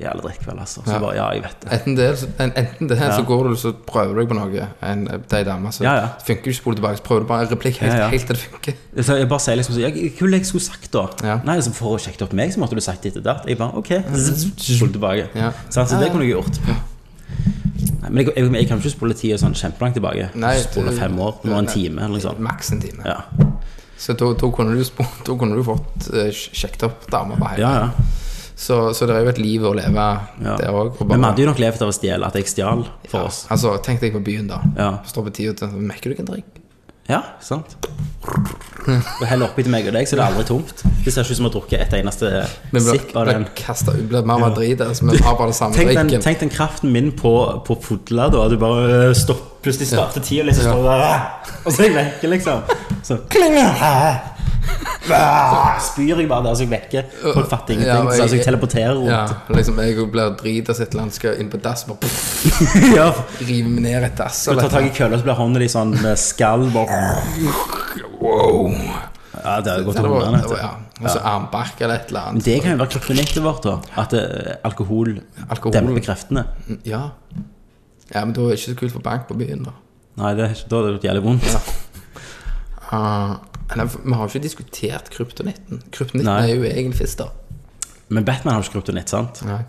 Speaker 1: jævla drittkveld, altså. Så bare Ja, jeg vet det.
Speaker 5: Enten det, så, en- enten det så går du så prøver du deg på noe, en de damene så
Speaker 1: Ja, ja.
Speaker 5: funker ikke, spoler tilbake, så prøver du bare en replikk helt,
Speaker 1: Ja, ja.
Speaker 5: helt til det funker.
Speaker 1: Så jeg bare sier liksom sånn «Ja, Hva ville jeg skulle sagt, da?
Speaker 5: Ja.
Speaker 1: Nei, altså For å sjekke opp meg, så måtte du sagt ditt og datt. Jeg bare OK. Spol tilbake.
Speaker 5: Ja.
Speaker 1: Sant, så det kunne jeg gjort. Nei, men jeg, jeg, jeg kan ikke spole tida sånn kjempelangt tilbake.
Speaker 5: Nei,
Speaker 1: spole
Speaker 5: det-
Speaker 1: fem år, nå en
Speaker 5: Nei.
Speaker 1: time, eller noe sånt.
Speaker 5: Maks en time.
Speaker 1: Liksom. Ja.
Speaker 5: Så da, da, kunne du, spo- da kunne du fått eh, sjekket opp damer på hele.
Speaker 1: ja, ja.
Speaker 5: Så, så det er jo et liv å leve
Speaker 1: Ja.
Speaker 5: der òg.
Speaker 1: Men vi hadde jo nok levd av å stjele, at jeg stjal for oss.
Speaker 5: Altså, tenk deg på byen, da.
Speaker 1: Ja.
Speaker 5: Står på tida og tenker Mekker du ikke en drikk?
Speaker 1: Ja, sant? Og heller oppi til meg og deg, så det er aldri tomt. Det ser ikke ut som å drukke et eneste
Speaker 5: Vi blir,
Speaker 1: sipp av
Speaker 5: blir
Speaker 1: den.
Speaker 5: kasta ut, blir mer og mer drit der, så vi har bare den samme
Speaker 1: Tenk den,
Speaker 5: drikken.
Speaker 1: tenk den kraften min på, på fodla, da. at Du bare øh, stopp, plutselig starter tida, liksom.
Speaker 5: Ja.
Speaker 1: Står du der, «Æ!» og så er jeg vekke, liksom. Så klinger Spyr jeg bare der, så jeg vekker. Folk fatter
Speaker 5: Ja,
Speaker 1: ingenting.
Speaker 5: og
Speaker 1: Så altså,
Speaker 5: jeg-
Speaker 1: jeg teleporterer
Speaker 5: Ja,
Speaker 1: rundt.
Speaker 5: liksom jeg blir drit av sitt land, skal inn på dass, bare pff,
Speaker 1: Ja.
Speaker 5: rive meg ned et dass.
Speaker 1: Du
Speaker 5: eller
Speaker 1: tar tak i
Speaker 5: et
Speaker 1: kølla, så blir hånda di sånn eh, skall. Bare.
Speaker 5: eller annet. Wow.
Speaker 1: Ja, det har gått
Speaker 5: Det
Speaker 1: til
Speaker 5: var-
Speaker 1: hundene.
Speaker 5: det var- ja. Og så armbark eller et eller
Speaker 1: Men
Speaker 5: annet.
Speaker 1: det kan jo være kryptonittet vårt, da. At eh, alkohol,
Speaker 5: Alkohol.
Speaker 1: demper kreftene.
Speaker 5: Ja. ja, men da er det ikke så kult for bank på byen, da.
Speaker 1: Nei, det, er ikke- da hadde det gjort jævlig vondt.
Speaker 5: Ah, nei, vi har jo ikke diskutert kryptonitten. Kryptonitten
Speaker 1: Nei.
Speaker 5: er jo egen fister.
Speaker 1: Men Batman har jo ikke kryptonitt, sant?
Speaker 5: Nei.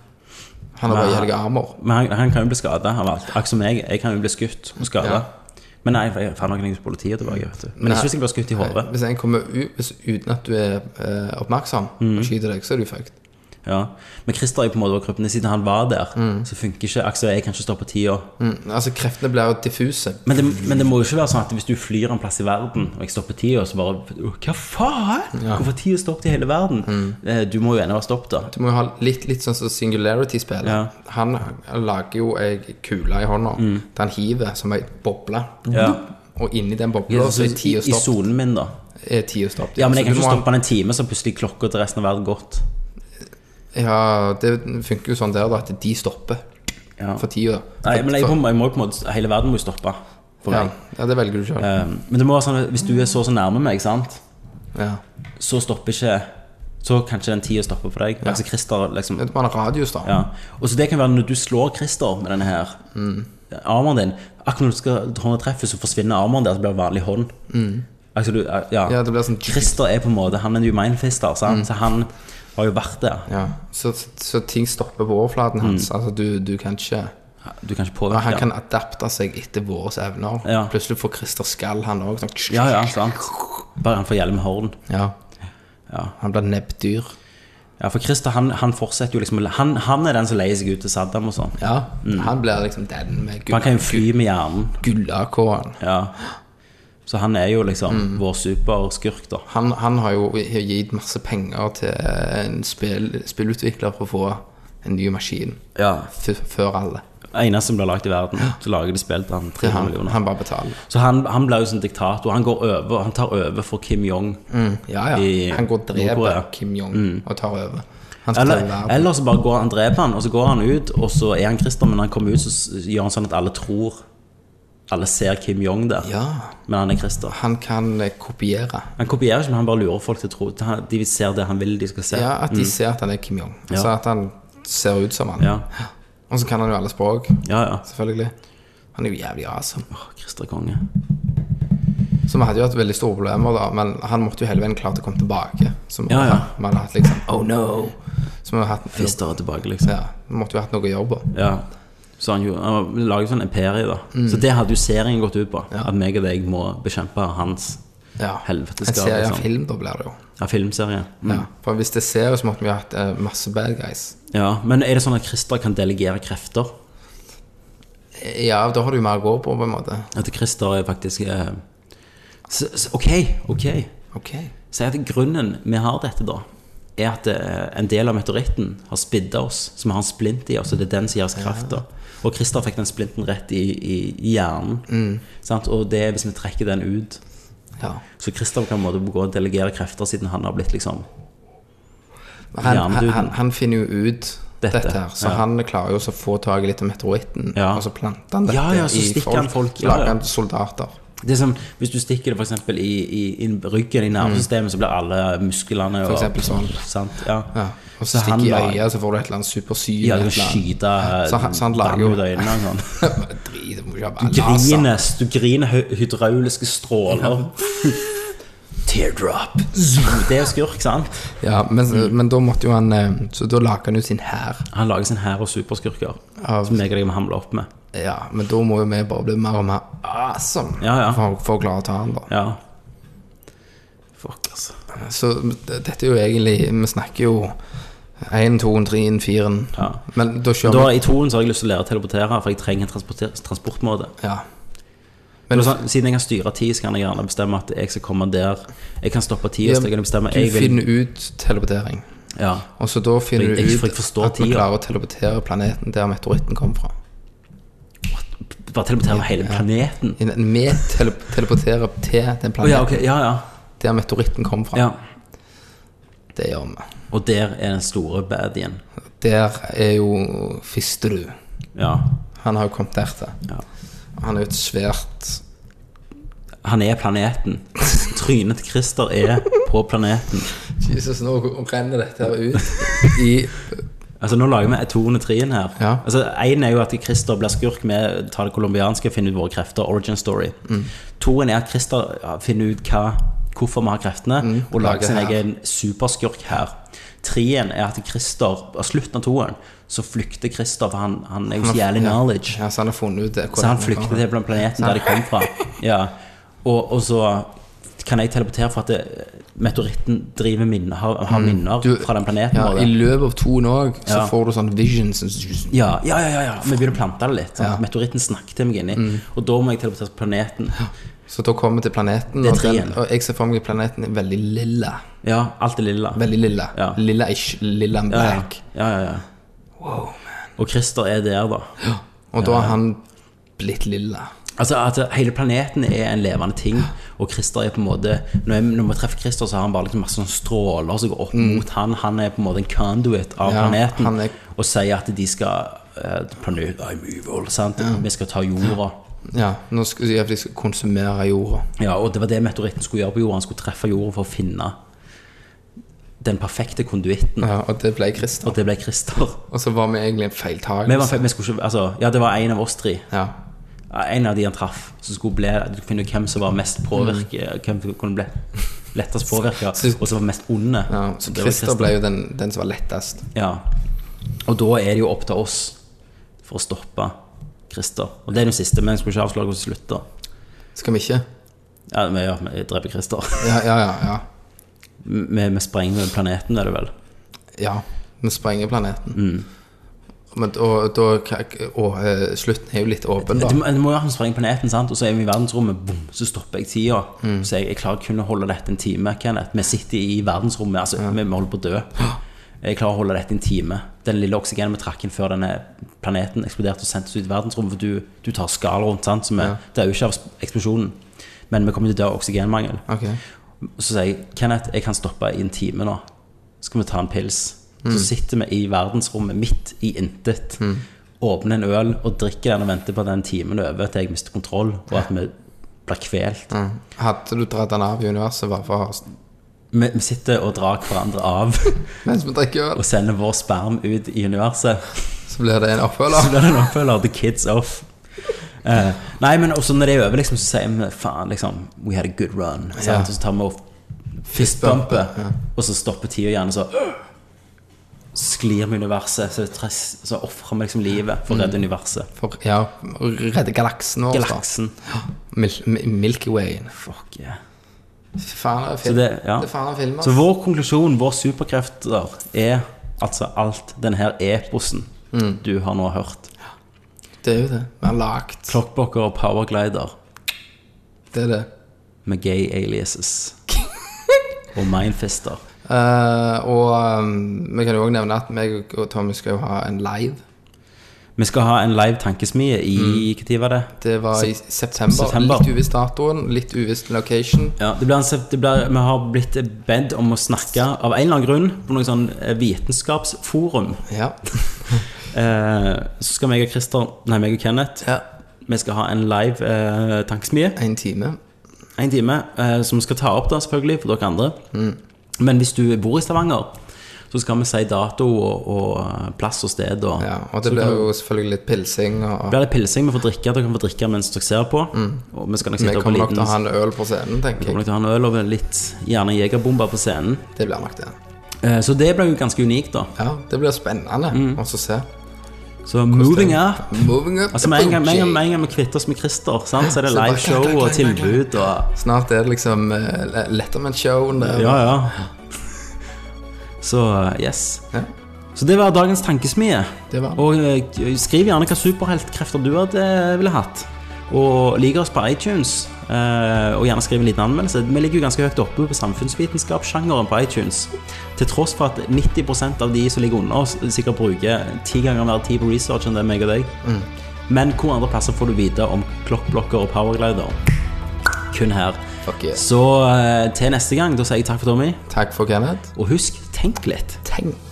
Speaker 5: Han har bare
Speaker 1: Men-
Speaker 5: jævlig armer.
Speaker 1: Men han, han kan jo bli skada av alt. Akkurat som jeg. Jeg kan jo bli skutt og skada.
Speaker 5: Ja.
Speaker 1: Men nei, for jeg fant noen hos politiet tilbake. vet du Men
Speaker 5: Nei.
Speaker 1: ikke hvis jeg blir skutt i hodet.
Speaker 5: Hvis en kommer ut hvis, uten at du er eh, oppmerksom
Speaker 1: Mm.
Speaker 5: og skyter deg, så er du fucked.
Speaker 1: Ja. Men Christer er jo på en måte også krypende. Siden han var der, så funker ikke Aksel. Jeg kan ikke stå på tida.
Speaker 5: Mm. Altså, kreftene blir jo diffuse.
Speaker 1: Men det, men det må jo ikke være sånn at hvis du flyr en plass i verden, og jeg stopper tida, så bare «Åh, Hva faen? Hvorfor har tida stoppet i hele verden?
Speaker 5: Mm.
Speaker 1: Eh, Du må jo ennå være stoppet, da.
Speaker 5: Du må jo ha litt, litt sånn som Singularity-spillet.
Speaker 1: Ja.
Speaker 5: Han lager jo ei kule i hånda. Den han hiver som ei boble.
Speaker 1: Mm. Ja.
Speaker 5: Og inni den
Speaker 1: I,
Speaker 5: bobla så er
Speaker 1: i,
Speaker 5: tida
Speaker 1: i
Speaker 5: stoppet.
Speaker 1: sonen min, da.
Speaker 5: Er tida stoppet.
Speaker 1: Ja, men
Speaker 5: Så
Speaker 1: jeg kan
Speaker 5: du
Speaker 1: ikke
Speaker 5: må ha-
Speaker 1: stoppe den en time, så plutselig klokka til resten av verden gått.
Speaker 5: Ja, det funker jo sånn der, da, at de stopper
Speaker 1: Ja.
Speaker 5: for tida.
Speaker 1: Nei, men jeg,
Speaker 5: For-
Speaker 1: må- jeg må på en måte Hele verden må jo stoppe. For
Speaker 5: ja.
Speaker 1: meg.
Speaker 5: ja, det velger du sjøl.
Speaker 1: Eh, Men det må være sånn at hvis du er så så nærme meg, sant?
Speaker 5: Ja.
Speaker 1: så stopper ikke Så kan ikke den tida stoppe for deg. Altså Christer liksom
Speaker 5: Man har radius, da.
Speaker 1: ja. Og så det kan være når du slår Christer med denne her
Speaker 5: Mm.
Speaker 1: armen din Akkurat når du skal hånda treffer, så forsvinner armen der, så blir det vanlig hånd. Altså, du, ja.
Speaker 5: Mm. Ja, det blir sånn- Mm.
Speaker 1: Christer er på en måte Han er en humanfister, sant? så han har jo vært der.
Speaker 5: Ja. Så, så, så ting stopper på
Speaker 1: Mm.
Speaker 5: overflaten hans. Altså, du, du kan ikke
Speaker 1: Du kan ikke
Speaker 5: ja,
Speaker 1: påvirke
Speaker 5: Han Ah, kan adapte seg etter våre evner.
Speaker 1: Ja.
Speaker 5: Plutselig får Christer skall, han òg. Sånn.
Speaker 1: Ja, ja, sant. Bare han får hjelm med horn.
Speaker 5: Ja.
Speaker 1: Ja.
Speaker 5: Han blir nebbdyr.
Speaker 1: Ja, for Christer han, han fortsetter jo liksom å- han, han er den som leier seg ut til Saddam og sånn.
Speaker 5: Ja. Han blir liksom den med
Speaker 1: For Han kan jo
Speaker 5: gull-
Speaker 1: fly med hjernen.
Speaker 5: gullakåren.
Speaker 1: Ja. Så han er jo liksom
Speaker 5: Mm.
Speaker 1: vår superskurk, da.
Speaker 5: Han, han har jo gitt masse penger til en spill, spillutvikler for å få en ny maskin
Speaker 1: Ja.
Speaker 5: f før alle.
Speaker 1: Eneste som blir lagd i verden. Så lager de spill til han
Speaker 5: Det er
Speaker 1: 300
Speaker 5: han,
Speaker 1: millioner.
Speaker 5: han bare betaler.
Speaker 1: Så han, han blir jo som diktator. Han går over, han tar over for Kim Jong.
Speaker 5: Mm. Ja, ja.
Speaker 1: I
Speaker 5: han går og dreper
Speaker 1: Nord-Korea. Mm.
Speaker 5: Kim Jong og tar over. Han skal
Speaker 1: Eller,
Speaker 5: ta verden.
Speaker 1: eller så bare går han dreper han, og så går han ut, og så er han kristen, men når han kommer ut, så s- gjør han sånn at alle tror Alle ser Kim Jong der,
Speaker 5: Ja.
Speaker 1: men han er kristen.
Speaker 5: Han kan eh, kopiere.
Speaker 1: Han kopierer ikke, men han bare lurer folk til å tro han- De ser det han vil de skal se.
Speaker 5: Ja, At de ser at han er Kim Jong. Altså at han ser ut som han.
Speaker 1: Mm. Ja,
Speaker 5: Og så kan han jo alle språk,
Speaker 1: ja. ja.
Speaker 5: selvfølgelig. Han er jo jævlig awesome.
Speaker 1: Åh, Christer Konge.
Speaker 5: Så vi hadde jo hatt veldig store problemer da, men han måtte jo hele veien klare til å komme tilbake. Så vi
Speaker 1: Ja, ja.
Speaker 5: vi hadde hatt liksom Oh no! Så vi hadde hatt
Speaker 1: Christer er tilbake, liksom.
Speaker 5: Ja, vi måtte jo hatt noe å gjøre på.
Speaker 1: Ja. Så han, gjorde, han laget sånn imperie, da.
Speaker 5: Mm.
Speaker 1: Så det hadde jo serien gått ut på. At meg og deg må bekjempe hans
Speaker 5: Ja.
Speaker 1: Helvete
Speaker 5: En
Speaker 1: skal,
Speaker 5: serie
Speaker 1: liksom. Mm.
Speaker 5: en film, da blir det jo.
Speaker 1: ja, filmserie.
Speaker 5: Ja. For hvis det er serie, så måtte vi jo hatt eh, masse bad guys.
Speaker 1: Ja, Men er det sånn at Christer kan delegere krefter?
Speaker 5: Ja, da har du jo mer å gå på, på en måte.
Speaker 1: At Christer er faktisk eh, s s Ok, ok.
Speaker 5: Ok.
Speaker 1: Si at grunnen vi har dette, da, er at eh, en del av meteoritten har spidda oss, som har en splint i oss, og det er den som gir oss krefter. Og Christer fikk den splinten rett i, i, i hjernen.
Speaker 5: Mm.
Speaker 1: Sant? Og det er hvis vi trekker den ut
Speaker 5: Ja.
Speaker 1: Så Kristian kan på en måte gå og delegere krefter siden han har blitt liksom
Speaker 5: Han, han,
Speaker 1: Jernduden.
Speaker 5: han, han finner jo ut
Speaker 1: Dette,
Speaker 5: dette, her, så
Speaker 1: ja.
Speaker 5: han klarer jo også å få tak i litt av meteoritten,
Speaker 1: Ja.
Speaker 5: og så planter han dette
Speaker 1: Ja, ja, så
Speaker 5: i
Speaker 1: stikker han folk, ja,
Speaker 5: Lager
Speaker 1: ja.
Speaker 5: han soldater.
Speaker 1: Det er som Hvis du stikker det for eksempel i, i, i ryggen, i nervesystemet, så blir alle musklene
Speaker 5: Mm. For eksempel sånn.
Speaker 1: Sant? Ja.
Speaker 5: Ja. Og så,
Speaker 1: Så han
Speaker 5: stikker i
Speaker 1: lag-
Speaker 5: øyet, så får du et eller annet supersyn.
Speaker 1: Ja,
Speaker 5: et
Speaker 1: du kan
Speaker 5: eller annet.
Speaker 1: skyte
Speaker 5: Så han- så han lager
Speaker 1: vann
Speaker 5: jo-
Speaker 1: ut av øynene og sånn.
Speaker 5: Drit, du må ikke ha bare laser.
Speaker 1: Grines, du griner hy- hydrauliske stråler. Teardrop. Det er jo skurk, sant?
Speaker 5: Ja, men,
Speaker 1: Mm.
Speaker 5: men da måtte jo han eh, Så da lager han jo sin hær.
Speaker 1: Han lager sin hær av superskurker.
Speaker 5: Av-
Speaker 1: Som jeg og deg må hamle opp med.
Speaker 5: Ja, men da må jo vi bare bli mer og mer awesome
Speaker 1: Ja, ja.
Speaker 5: For, for å klare å ta han, da.
Speaker 1: Ja. Fuck, altså.
Speaker 5: Så d- dette er jo egentlig Vi snakker jo 1, 2, 3, 4
Speaker 1: Ja.
Speaker 5: Men da kjører
Speaker 1: Da,
Speaker 5: vi
Speaker 1: I toen så har jeg lyst til å lære å teleportere, for jeg trenger en transporter- transportmåte.
Speaker 5: Ja.
Speaker 1: Men sånn, siden jeg kan styre tid, så kan jeg gjerne bestemme at jeg skal komme der. Jeg kan stoppe tid, så jeg kan bestemme
Speaker 5: du
Speaker 1: jeg vil,
Speaker 5: finner ut teleportering.
Speaker 1: ja.
Speaker 5: Og så da finner
Speaker 1: Jeg-
Speaker 5: du
Speaker 1: jeg-
Speaker 5: ut
Speaker 1: for jeg forstår
Speaker 5: at vi
Speaker 1: tida.
Speaker 5: klarer å teleportere planeten der meteoritten kom fra.
Speaker 1: Bare teleportere hele planeten.
Speaker 5: Vi tele teleporterer til den
Speaker 1: Å ja,
Speaker 5: planeten
Speaker 1: ok, ja, ja,
Speaker 5: der meteoritten kom fra.
Speaker 1: ja.
Speaker 5: Det gjør vi.
Speaker 1: Og der er den store baddien.
Speaker 5: Der er jo Fisterud.
Speaker 1: Ja.
Speaker 5: Han har jo kommet der til.
Speaker 1: ja.
Speaker 5: Han er jo et svært
Speaker 1: Han er planeten. Trynet til Christer er på planeten.
Speaker 5: Jesus, nå renner dette her ut i
Speaker 1: Altså Nå lager vi toen og treen her.
Speaker 5: Ja.
Speaker 1: Altså Én er jo at Christer blir skurk. Vi tar
Speaker 5: Mm.
Speaker 1: det colombianske og finner ut våre krefter. Origin story. Toen er at Christer ja, finner ut hva, hvorfor vi har kreftene, og
Speaker 5: lage
Speaker 1: lager sin
Speaker 5: Mm. her.
Speaker 1: egen superskurk her. Treen er at Christer, av slutten av toeren, så flykter Christer, for han, han er jo så jævlig
Speaker 5: Ja.
Speaker 1: knowledge.
Speaker 5: Ja, så han har funnet ut det. hvor
Speaker 1: Så han
Speaker 5: det
Speaker 1: flykter
Speaker 5: kommer
Speaker 1: til blant planeten der de kom fra. Ja. Og, og så kan jeg teleportere for at det, meteoritten driver minner, har, har minner
Speaker 5: Mm. Du-
Speaker 1: fra den planeten.
Speaker 5: Ja,
Speaker 1: vår.
Speaker 5: I løpet av to òg så
Speaker 1: Ja.
Speaker 5: får du sånn visions
Speaker 1: ja, ja, ja, ja, ja. Vi begynner å plante det litt. sant?
Speaker 5: Ja. Mm.
Speaker 1: Meteoritten snakker til meg inni. Og da må jeg teleportere til planeten.
Speaker 5: Så da kommer vi til planeten,
Speaker 1: Det er
Speaker 5: og, den,
Speaker 1: treen.
Speaker 5: og jeg ser for meg at planeten er veldig lilla.
Speaker 1: Ja, alt er lilla.
Speaker 5: Veldig lilla.
Speaker 1: Ja.
Speaker 5: Lilla-ish. Lilla and
Speaker 1: ja, ja.
Speaker 5: black.
Speaker 1: ja, ja, ja. Og Christer er der, da.
Speaker 5: Og da har han blitt lilla.
Speaker 1: Altså at Hele planeten er en levende ting, og Christer er på en måte Når, jeg, når vi treffer Christer, så har han bare liksom masse sånne stråler som går opp mot han Han er på en måte en conduit av
Speaker 5: Mm. Ja, han
Speaker 1: planeten,
Speaker 5: er-
Speaker 1: og sier at de skal eh, planet, I'm evil, sant? Vi skal ta jorda.
Speaker 5: Ja, nå skal ja, for de skal konsumere jorda.
Speaker 1: Ja, Og det var det meteoritten skulle gjøre på jorda. Han skulle treffe jorda for å finne den perfekte konduitten.
Speaker 5: Ja, og det ble Christer.
Speaker 1: Og det ble Christer.
Speaker 5: Og så var vi egentlig en
Speaker 1: Vi var,
Speaker 5: feiltagelse.
Speaker 1: vi skulle ikke, altså, ja, det var en av oss tre.
Speaker 5: Ja.
Speaker 1: En av de han traff, som skulle bli, du finne ut hvem som var mest påvirket, hvem som kunne bli lettest påvirket,
Speaker 5: Mm. Så-
Speaker 1: og som var mest onde.
Speaker 5: Ja,
Speaker 1: Og
Speaker 5: så
Speaker 1: det var
Speaker 5: Christer ble jo den, den som var lettest.
Speaker 1: Ja. Og da er det jo opp til oss for å stoppe Christer. Og det er den siste, men jeg skulle ikke avsløre hvordan det slutter.
Speaker 5: Skal vi ikke?
Speaker 1: Ja, vi, ja, vi dreper Christer.
Speaker 5: Ja, ja, ja. ja.
Speaker 1: Vi, vi sprenger planeten, er det vel?
Speaker 5: Ja, vi sprenger planeten.
Speaker 1: Mm.
Speaker 5: Men, og da og, eh, slutten er jo litt åpen, da.
Speaker 1: Du må, du må jo ha en spreng på neten, sant? og så er vi i verdensrommet, boom, så stopper jeg tida.
Speaker 5: Mm.
Speaker 1: Så jeg, jeg klarer kun å holde dette en time, Kenneth. Vi sitter i verdensrommet, altså, vi vi holder på å dø. Jeg klarer å holde dette en time. Den lille oksygenen vi trakk inn før denne planeten eksploderte og sendte oss ut i verdensrommet, for du, du tar skall rundt, sant? så vi
Speaker 5: Ja.
Speaker 1: dør jo ikke av sp- eksplosjonen. Men vi kommer til å dø av oksygenmangel.
Speaker 5: Ok.
Speaker 1: Så sier jeg, Kenneth, jeg kan stoppe i en time nå. Skal vi ta en pils? Så sitter vi i verdensrommet midt i intet. Åpner en øl og drikker den og venter på at den timen er over til jeg mister kontroll, og at vi blir kvelt.
Speaker 5: Mm. Hadde du dratt den av i universet, hva for
Speaker 1: Vi, vi sitter og drar hverandre av
Speaker 5: Mens vi drikker øl,
Speaker 1: og sender vår sperm ut i universet.
Speaker 5: så blir det en
Speaker 1: Så
Speaker 5: oppfølger.
Speaker 1: blir det en oppfølger The Kids Off. Eh, nei, men også når det er over, liksom, så sier vi faen, liksom We had a good run. sant?
Speaker 5: Ja.
Speaker 1: Og så tar vi opp
Speaker 5: Fistbumpe,
Speaker 1: fistbumpet,
Speaker 5: ja.
Speaker 1: og så stopper tida igjen, og så sklir vi universet. Så, det tress- så ofrer vi liksom livet for å
Speaker 5: Mm.
Speaker 1: redde universet.
Speaker 5: For ja, å redde galaksen vår. da.
Speaker 1: Galaksen.
Speaker 5: Mil Mi- Milky Wayen.
Speaker 1: Fuck yeah.
Speaker 5: Fy Faen, det er
Speaker 1: Så
Speaker 5: film.
Speaker 1: det- ja.
Speaker 5: er faen en film, altså.
Speaker 1: Så
Speaker 5: ass.
Speaker 1: vår konklusjon, vår superkrefter, er altså alt den her eposen
Speaker 5: Mm.
Speaker 1: du har nå hørt.
Speaker 5: Det er jo det. Vi har lagd
Speaker 1: Clockblocker og powerglider.
Speaker 5: Det er det.
Speaker 1: med gay aliases. og mindfister.
Speaker 5: Eh, og um, vi kan jo òg nevne at meg og Tommy skal jo ha en live.
Speaker 1: Vi skal ha en live tankesmie i
Speaker 5: Mm.
Speaker 1: Hva tid var det?
Speaker 5: Det var i september.
Speaker 1: September.
Speaker 5: Litt uvisst datoen, litt uvisst location.
Speaker 1: Ja, det blir en, sep- det blir, vi har blitt bedt om å snakke av en eller annen grunn på noe sånn eh, vitenskapsforum.
Speaker 5: Ja.
Speaker 1: Eh, så skal meg og Christer, nei, meg og Kenneth,
Speaker 5: ja.
Speaker 1: vi skal ha en live eh, tankesmie.
Speaker 5: En time.
Speaker 1: En time, eh, som vi skal ta opp da, selvfølgelig, for dere andre.
Speaker 5: Mm.
Speaker 1: Men hvis du bor i Stavanger, så skal vi si dato og, og plass og sted. Og,
Speaker 5: Ja, og det blir jo selvfølgelig litt pilsing. Og
Speaker 1: blir det pilsing. Vi får drikke. Dere kan få drikke mens dere ser på. Og vi skal nok
Speaker 5: Mm. vi
Speaker 1: sitte opp på
Speaker 5: kommer nok
Speaker 1: liten
Speaker 5: til å ha en øl på scenen, tenker
Speaker 1: Kommer
Speaker 5: jeg.
Speaker 1: nok til å ha en øl og litt gjerne jegerbomber på scenen.
Speaker 5: Det blir nok det.
Speaker 1: Eh, Så det ble jo ganske unikt, da.
Speaker 5: Ja, det blir spennende også å se.
Speaker 1: Så Mm. moving up.
Speaker 5: Moving up
Speaker 1: Altså Med en gang, med en gang, med en gang vi kvitter oss med Christer, sant? så er det
Speaker 5: Så bare
Speaker 1: liveshow
Speaker 5: klang, klang,
Speaker 1: og
Speaker 5: klang, klang,
Speaker 1: tilbud og
Speaker 5: Snart er det liksom uh, Letterman-show.
Speaker 1: Ja, ja. Så yes.
Speaker 5: Ja.
Speaker 1: Så det var dagens tankesmie.
Speaker 5: Det var det.
Speaker 1: Og eh, skriv gjerne hva superheltkrefter du hadde, eh, ville hatt. Og liker oss på iTunes. eh, Og gjerne skriv en liten anmeldelse. Vi ligger jo ganske høyt oppe på samfunnsvitenskapssjangeren på iTunes. Til tross for at 90 av de som ligger under oss, sikkert bruker ti ganger mer tid på research enn det meg og deg.
Speaker 5: Mm.
Speaker 1: Men hvor andre plasser får du vite om klokkblokker og powerglider? Kun her.
Speaker 5: Fuck yeah.
Speaker 1: Så eh, til neste gang, da sier jeg takk for Tommy.
Speaker 5: Takk for Kenneth.
Speaker 1: Og husk, tenk litt.
Speaker 5: Tenk